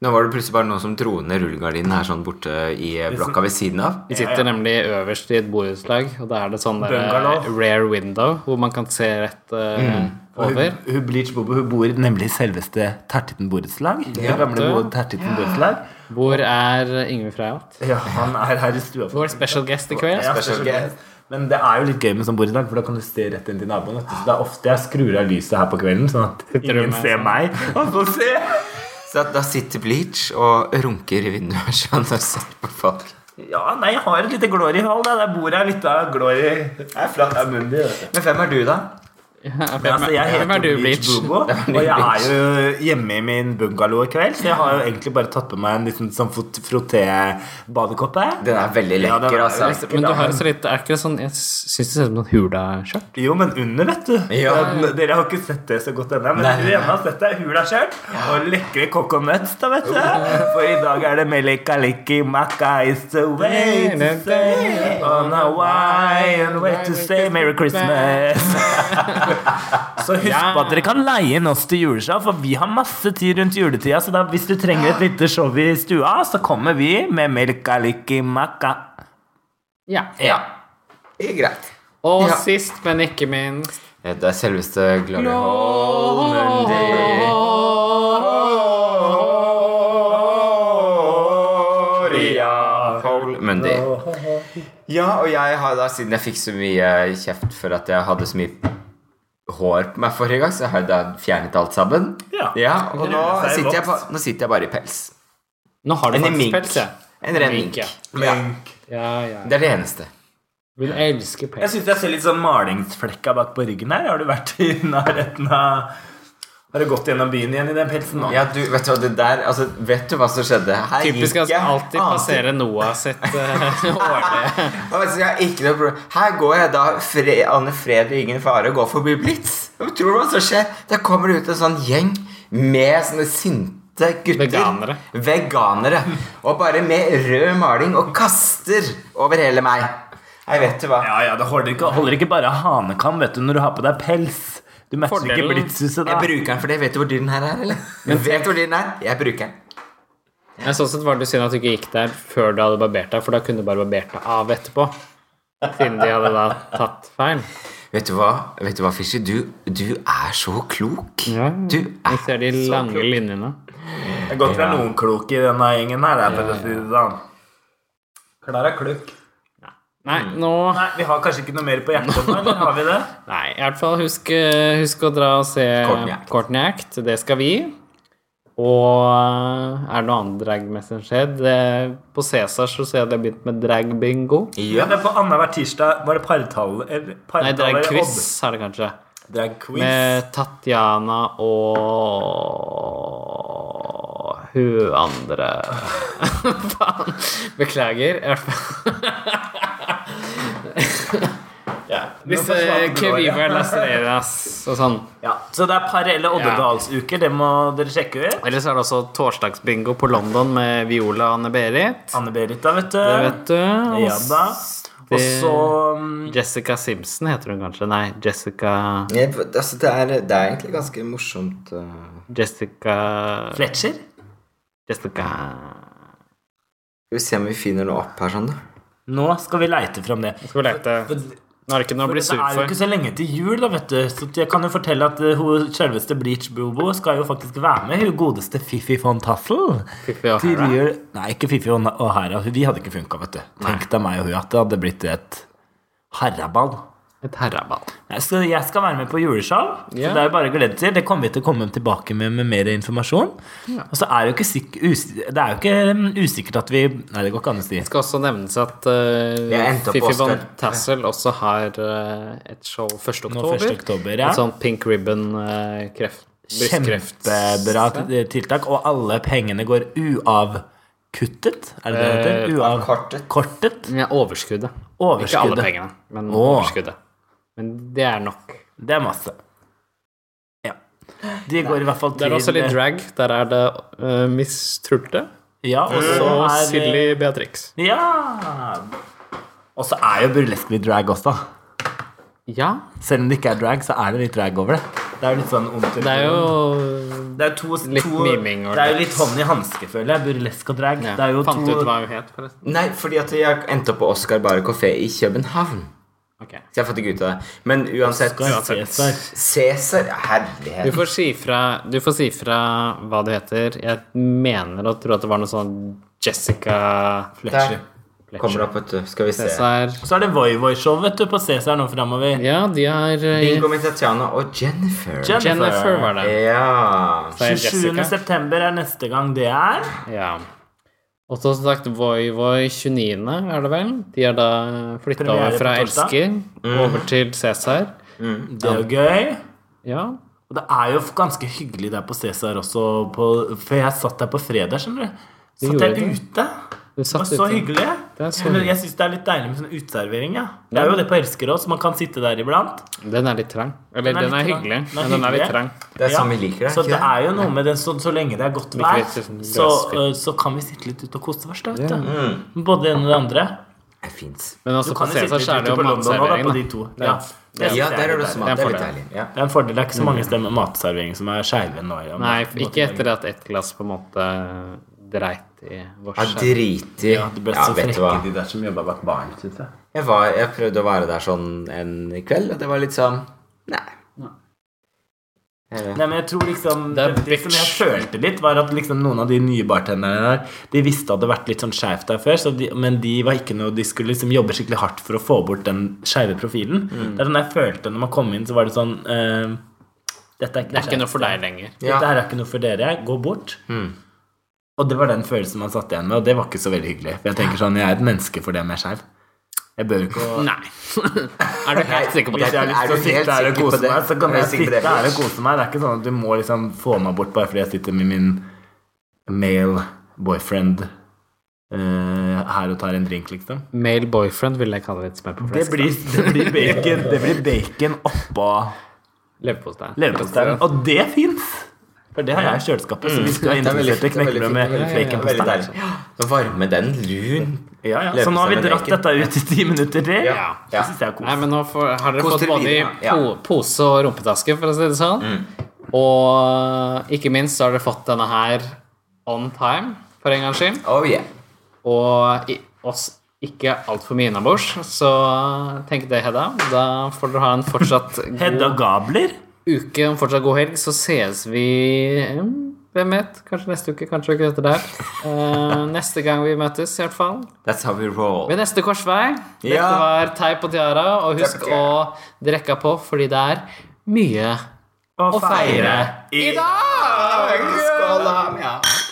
S3: Nå var det plutselig bare noen som dro ned rullegardinen her sånn borte i
S2: sånn-
S3: blokka ved siden av.
S2: Vi sitter nemlig øverst i et borettslag, og da er det sånn der
S1: Bungalow.
S2: eh, rare window hvor man kan se rett eh, over.
S1: Hun, hun, Bleach Bobo, hun bor nemlig i selveste Tertitten borettslag. Det gamle bo- Tertitten borettslag.
S2: Hvor er Yngve Freyholt?
S1: Ja, han er her i stua. for-
S2: Vår special guest i kveld.
S1: Ja,
S3: Special guest.
S1: Men det er jo litt gøy med sånn borettslag, for da kan du se rett inn til naboen. vet du. Så det er ofte jeg skrur av lyset her på kvelden, sånn at
S2: Sitter du
S1: ingen
S2: med
S1: ser
S2: sånn?
S1: meg. Og så ser
S3: Så da sitter Bleach og runker i vinduet sånn og setter på folk.
S1: Ja, nei, jeg har et lite glory hall. da. Der bor jeg litt av glory. Det er flatt av munnen din, vet du.
S3: Men hvem er du, da?
S1: Men altså, jeg
S2: Hvem er
S1: heter
S2: du,
S1: jo Bleach
S2: Bleach?
S1: Bobo,
S3: ny
S1: og jeg er jo hjemme i min bungalow i kveld, så jeg har jo egentlig bare tatt på meg en liten sånn fot- frotté-badekoppe.
S3: Den er veldig
S1: Ja, den
S3: lekker,
S1: er liksom-
S3: altså.
S1: lekker,
S2: Men du
S1: da.
S2: har også litt Er ikke det sånn Jeg syns det ser ut som et hula-skjørt.
S1: Jo, men under, vet du.
S3: Ja.
S1: Den- Dere har ikke sett det så godt ennå, men
S3: Nei.
S1: dere hjemme har sett det. Hula skjørt og lekre coconuts, da, vet du. For i dag er det melikaliki maka is the way to stay on Hawaii and way to stay. Merry Christmas. Så husk på at dere kan leie inn oss til juleshow, for vi har masse tid rundt juletida. Så da, hvis du trenger et lite show i stua, så kommer vi med melikaliki maka.
S2: Ja.
S3: Ja. Det er greit.
S2: Og
S3: Ja.
S2: sist, men ikke minst
S3: Det er selveste Glory Hall Mundi. Hall Mundi. Ja, og jeg har da, siden jeg fikk så mye kjeft for at jeg hadde så mye hår på meg forrige gang, så har jeg da fjernet alt sammen.
S1: Ja.
S3: og nå
S1: Det er
S3: sitter, jeg,
S1: vokst.
S3: ba- nå sitter jeg bare i pels.
S2: Nå har du
S3: En
S2: faktisk
S3: mink.
S2: pels, jeg.
S3: En ren
S2: Mink,
S3: mink.
S2: ja.
S3: Ja.
S2: Ja, ja.
S3: Det er det eneste.
S2: Hun elsker pels.
S1: Jeg syns jeg ser litt sånn malingsflekka bak på ryggen her. Har du vært i nærheten av Har du gått gjennom byen igjen i den pelsen nå?
S3: Ja, du, vet du hva det der altså, Vet du hva som skjedde? Her
S2: Typisk
S3: gikk
S2: altså,
S3: jeg
S2: alltid passere Noah sitt eh, årlige
S3: Altså, jeg har ikke noe problem. Her går jeg da fre, Anne Fred og ingen fare og går forbi Blitz. Hva tror du hva som skjer? Der kommer det ut en sånn gjeng med sånne sinte gutter.
S2: Veganere.
S3: Veganere. Og bare med rød maling og kaster over hele meg. Jeg vet du hva.
S1: Ja, ja, det holder ikke, holder ikke bare hanekam vet du, når du har på deg pels. Du matcher
S2: Fordelen-
S1: ikke Blitzhuset da.
S3: Jeg bruker den for det. Vet du hvor dyr den her er, eller? Vet du hvor dyr den er? Jeg bruker den.
S2: Men Sånn sett var det synd at du ikke gikk der før du hadde barbert deg, for da kunne du bare barbert deg av etterpå. Siden de hadde da tatt feil.
S3: Vet du hva, Vet du hva Fischer? Du, du er så klok. Du
S2: Vi
S3: er
S2: ser de lange linjene.
S1: Det er godt det er noen klok i denne gjengen her. Jeg, for å si det sånn. Klara Kluk.
S2: Nei,
S3: Mm.
S2: nå
S1: Nei, vi har kanskje ikke noe mer på hjertet nå, eller har vi det?
S2: Nei, i hvert fall husk, eh, husk å dra og se
S3: Courtney Act.
S2: Courtney Act. Det skal vi. Og eh, er det noe annet dragmessig som skjedd? Eh, På Cæsar så ser jeg at de har begynt med dragbingo.
S1: Ja,
S3: ja.
S1: det er på annenhver tirsdag. Var det partall eller
S2: Nei,
S1: partall eller
S2: dragquiz
S1: odd?
S2: er det kanskje.
S1: Dragquiz.
S2: Med Tatjana og hun andre Faen. Beklager. i hvert fall. ja. Hvis
S1: Nå forsvant du
S2: eh,
S1: da, ja.
S2: Keviva Las Vegas og sånn.
S1: Ja, så det er par- eller oddedalsuker. Det må dere sjekke ut.
S2: Ellers er det også torsdagsbingo på London med Viola og Anne-Berit.
S1: Anne-Berit, da, vet du.
S2: Det vet du. Og
S1: Ja da. Og
S2: det-
S1: så mm,
S2: Jessica Simpson heter hun kanskje. Nei, Jessica
S3: Nei, altså, det, er, det er egentlig ganske morsomt. øh.
S2: Jessica
S1: Fletcher.
S2: Jessica
S3: Skal vi se om vi finner noe opp her, sånn, da.
S1: Nå skal vi leite fram det.
S2: Skal vi lete. Nå er det ikke noe å bli
S1: Det
S2: sur
S1: er jo
S2: for.
S1: ikke så lenge til jul, da, vet du. Så jeg kan jo fortelle at eh, hun selveste Bleach Boobo skal jo faktisk være med. Hun godeste Fifi von Tassel.
S2: Fiffi og Hera.
S1: Tidligere Nei, ikke Fifi og og Hera. Vi hadde ikke funka, vet du. Tenk deg meg og hun at det hadde blitt et harraball.
S2: Et herreball.
S1: Jeg skal, jeg skal være med på juleshow.
S2: Ja.
S1: Så Det er jo bare å glede seg. Det kommer vi til å komme tilbake med med mer informasjon. Og så er det jo ikke, sikk, us, det er jo ikke um, usikkert at vi Nei, det går ikke an å si.
S2: Det skal også nevnes at eh,
S3: Jeg endte opp
S2: Fifi
S3: på
S2: von
S3: Oscar.
S2: Tassel også har eh, et show 1.
S1: Nå
S2: oktober.
S1: 1. oktober, ja.
S2: Et sånt pink ribbon eh, kreft, brystkreft.
S1: Kjempebra t- tiltak. Og alle pengene går uavkuttet. Er det det det heter?
S2: Eh,
S3: avkortet.
S1: Uavkortet.
S2: Ja, overskuddet.
S1: Overskuddet.
S2: Ikke alle pengene, men
S1: Åh.
S2: overskuddet. Men det er nok.
S1: Det er masse. Ja. De går i hvert fall til
S2: Det er også litt drag. Der er det eh, Miss Trulte
S1: Ja, og så
S2: og
S1: er
S2: Silly Beatrix.
S1: Ja! Og så er jo burlesk litt drag også.
S2: Ja,
S1: Selv om det ikke er drag, så er det litt drag over det. Det er jo litt sånn ondt i
S2: det er
S1: hodet.
S2: jo
S1: Det er to,
S2: litt
S1: to,
S2: miming og
S1: Det er jo
S2: litt-
S1: litt hånd i hanske, føler jeg. Burlesk og drag.
S2: ja.
S1: Det er jo
S2: Fant
S1: to
S2: ut hva hun het, forresten.
S3: Nei, fordi at jeg endte opp på Oscar Bare Café i København.
S2: Ok.
S3: Så jeg har fått ikke ut av det. Men uansett
S1: Cæsar.
S3: Cæsar
S2: Du
S3: Herlighet.
S2: får si fra, du får si fra hva du heter. Jeg mener og tror at det var noe sånn Jessica
S3: Der
S1: Fletcher.
S3: kommer det opp, vet du. Skal vi se.
S2: Cæsar.
S1: Så er det Voi Voi-show vet du, på Cæsar nå framover.
S2: Ja, de har eh,
S3: Bingo med Tatjana og Jennifer.
S1: Jen-
S2: Jennifer var det.
S3: ja.
S2: Så er det
S1: 27.
S2: Jessica.
S1: september er neste gang det er.
S2: Ja. Og så som sagt Voi Voi 29., er det vel? De har da flytta
S1: Premiere
S2: over
S1: på
S2: fra
S1: torsdag. Mm.
S2: Elsker over til Cæsar.
S1: Det er jo gøy.
S2: Ja.
S1: Og det er jo ganske hyggelig der på Cæsar også, på, for jeg satt der på fredag, skjønner du. Satt
S2: gjorde
S1: jeg
S2: du.
S1: ute.
S2: Du
S1: Det var
S2: satt
S1: så
S2: ute.
S1: hyggelig.
S2: Det er så
S1: Men
S2: hyggelig.
S1: jeg syns det er litt deilig med sånn uteservering, ja. Det er jo det på Elsker også, man kan sitte der iblant.
S2: Den er litt trang. Eller
S1: Den er
S2: den er,
S1: litt trang.
S2: hyggelig,
S1: Den er
S2: men den er litt
S1: hyggelig.
S2: trang.
S3: Det er
S1: Ja.
S3: sånn vi liker det.
S1: Så det
S3: ikke
S1: er jo noe med det, så, så lenge det er godt vær,
S2: litt sånn
S1: så,
S2: glassfri.
S1: øh, så kan vi sitte litt ute og kose oss, da, vet
S3: Mm.
S1: du. Både det ene og det andre.
S3: Det er fint.
S2: Men altså
S1: Du
S2: på
S1: kan jo sitte
S2: Cæsar
S1: litt
S2: så er
S1: ute
S2: det jo
S1: på London nå, da,
S2: matservering,
S1: på
S2: da.
S1: de to.
S2: Ja.
S1: synes
S3: Ja,
S1: jeg
S3: der
S1: er
S3: er det Mm. også mat. Det
S1: litt deilig.
S3: er litt
S2: Det er
S3: deilig. Ja.
S1: Det er en fordel. Det er ikke så mange steder med matservering som er skeive nå. Ja,
S2: Nei, for ikke etter at ett glass på en måte dreit i vårs.
S3: Ja, driti.
S1: Ja, det ble
S3: Ja,
S1: så
S3: vet du
S1: frekke
S3: hva.
S1: de der som jobba bak baren, syns jeg.
S3: Jeg, var, jeg prøvde å være der sånn en kveld, og det var litt sånn Nei. Eh,
S1: Nei, men jeg tror liksom
S2: Det
S1: Det,
S2: er
S1: som jeg følte litt, var at liksom noen av de nye bartenderne der, de visste at det hadde vært litt sånn skeivt der før, så de, men de var ikke noe De skulle liksom jobbe skikkelig hardt for å få bort den skeive profilen.
S2: Mm.
S1: Det er sånn jeg følte når man kom inn, så var det sånn eh, Dette er ikke,
S2: Det er ikke noe for Mm. deg lenger.
S1: Dette her er ikke noe for dere. Gå bort. Og det var den følelsen man satt igjen med, og det var ikke så veldig hyggelig. For jeg tenker sånn, jeg er et menneske fordi jeg er mer skeiv. Jeg bør ikke å
S2: Nei. er du helt sikker på
S1: Hvis jeg
S2: det?
S3: Er
S1: har lyst til
S3: du
S1: å sitte
S3: helt
S1: her og
S3: sikker på
S1: kose
S3: det?
S1: meg, så kan
S3: Er du
S1: jeg
S3: sikker på
S1: sitte
S3: det?
S1: her og kose meg. Det er ikke sånn at du må liksom få meg bort bare fordi jeg sitter med min male boyfriend eh, her og tar en drink, liksom.
S2: Male boyfriend vil jeg kalle det. Smør på
S1: Det
S2: flesk.
S1: blir, det blir bacon Det blir bacon oppå
S2: Leverpostei.
S1: leverposteien. Og det fins! For det har jeg i kjøleskapet. Så vi skal ha
S3: Det er veldig
S1: interesserte
S3: fint, det er veldig
S1: knekkebrød med
S3: fint.
S1: bacon på
S3: Veldig deilig. Så Varme den lun.
S1: Ja, ja. Så nå har vi
S3: Leverpostei med
S1: dratt
S3: bacon.
S1: dette ut i ti minutter til.
S3: Ja.
S1: Det syns jeg er
S2: Nei,
S1: kos.
S2: men nå får, har dere
S3: Kos
S2: fått
S3: dere
S2: både i
S3: videre, ja.
S2: po pose og rumpetaske, for å si det sånn. Og ikke minst så har dere fått denne her on time, for en gangs skyld.
S3: Oh yeah.
S2: Og i, oss ikke altfor mye innabords, så tenk det, Hedda. Da får dere ha en fortsatt god
S1: Hedda Gabler.
S2: uke og en fortsatt god helg. Så ses vi mm, Hvem vet? Kanskje neste uke, kanskje ikke dette der. Eh, neste gang vi møtes, i hvert fall.
S3: That's how we roll.
S2: Ved neste korsvei. Dette
S3: Ja.
S2: var Teip og Tiara, og husk
S3: Teip og
S2: å
S3: tiara.
S2: drikke på, fordi det er mye
S1: Å
S2: å feire
S1: i
S2: i dag! Skål, da! Ja.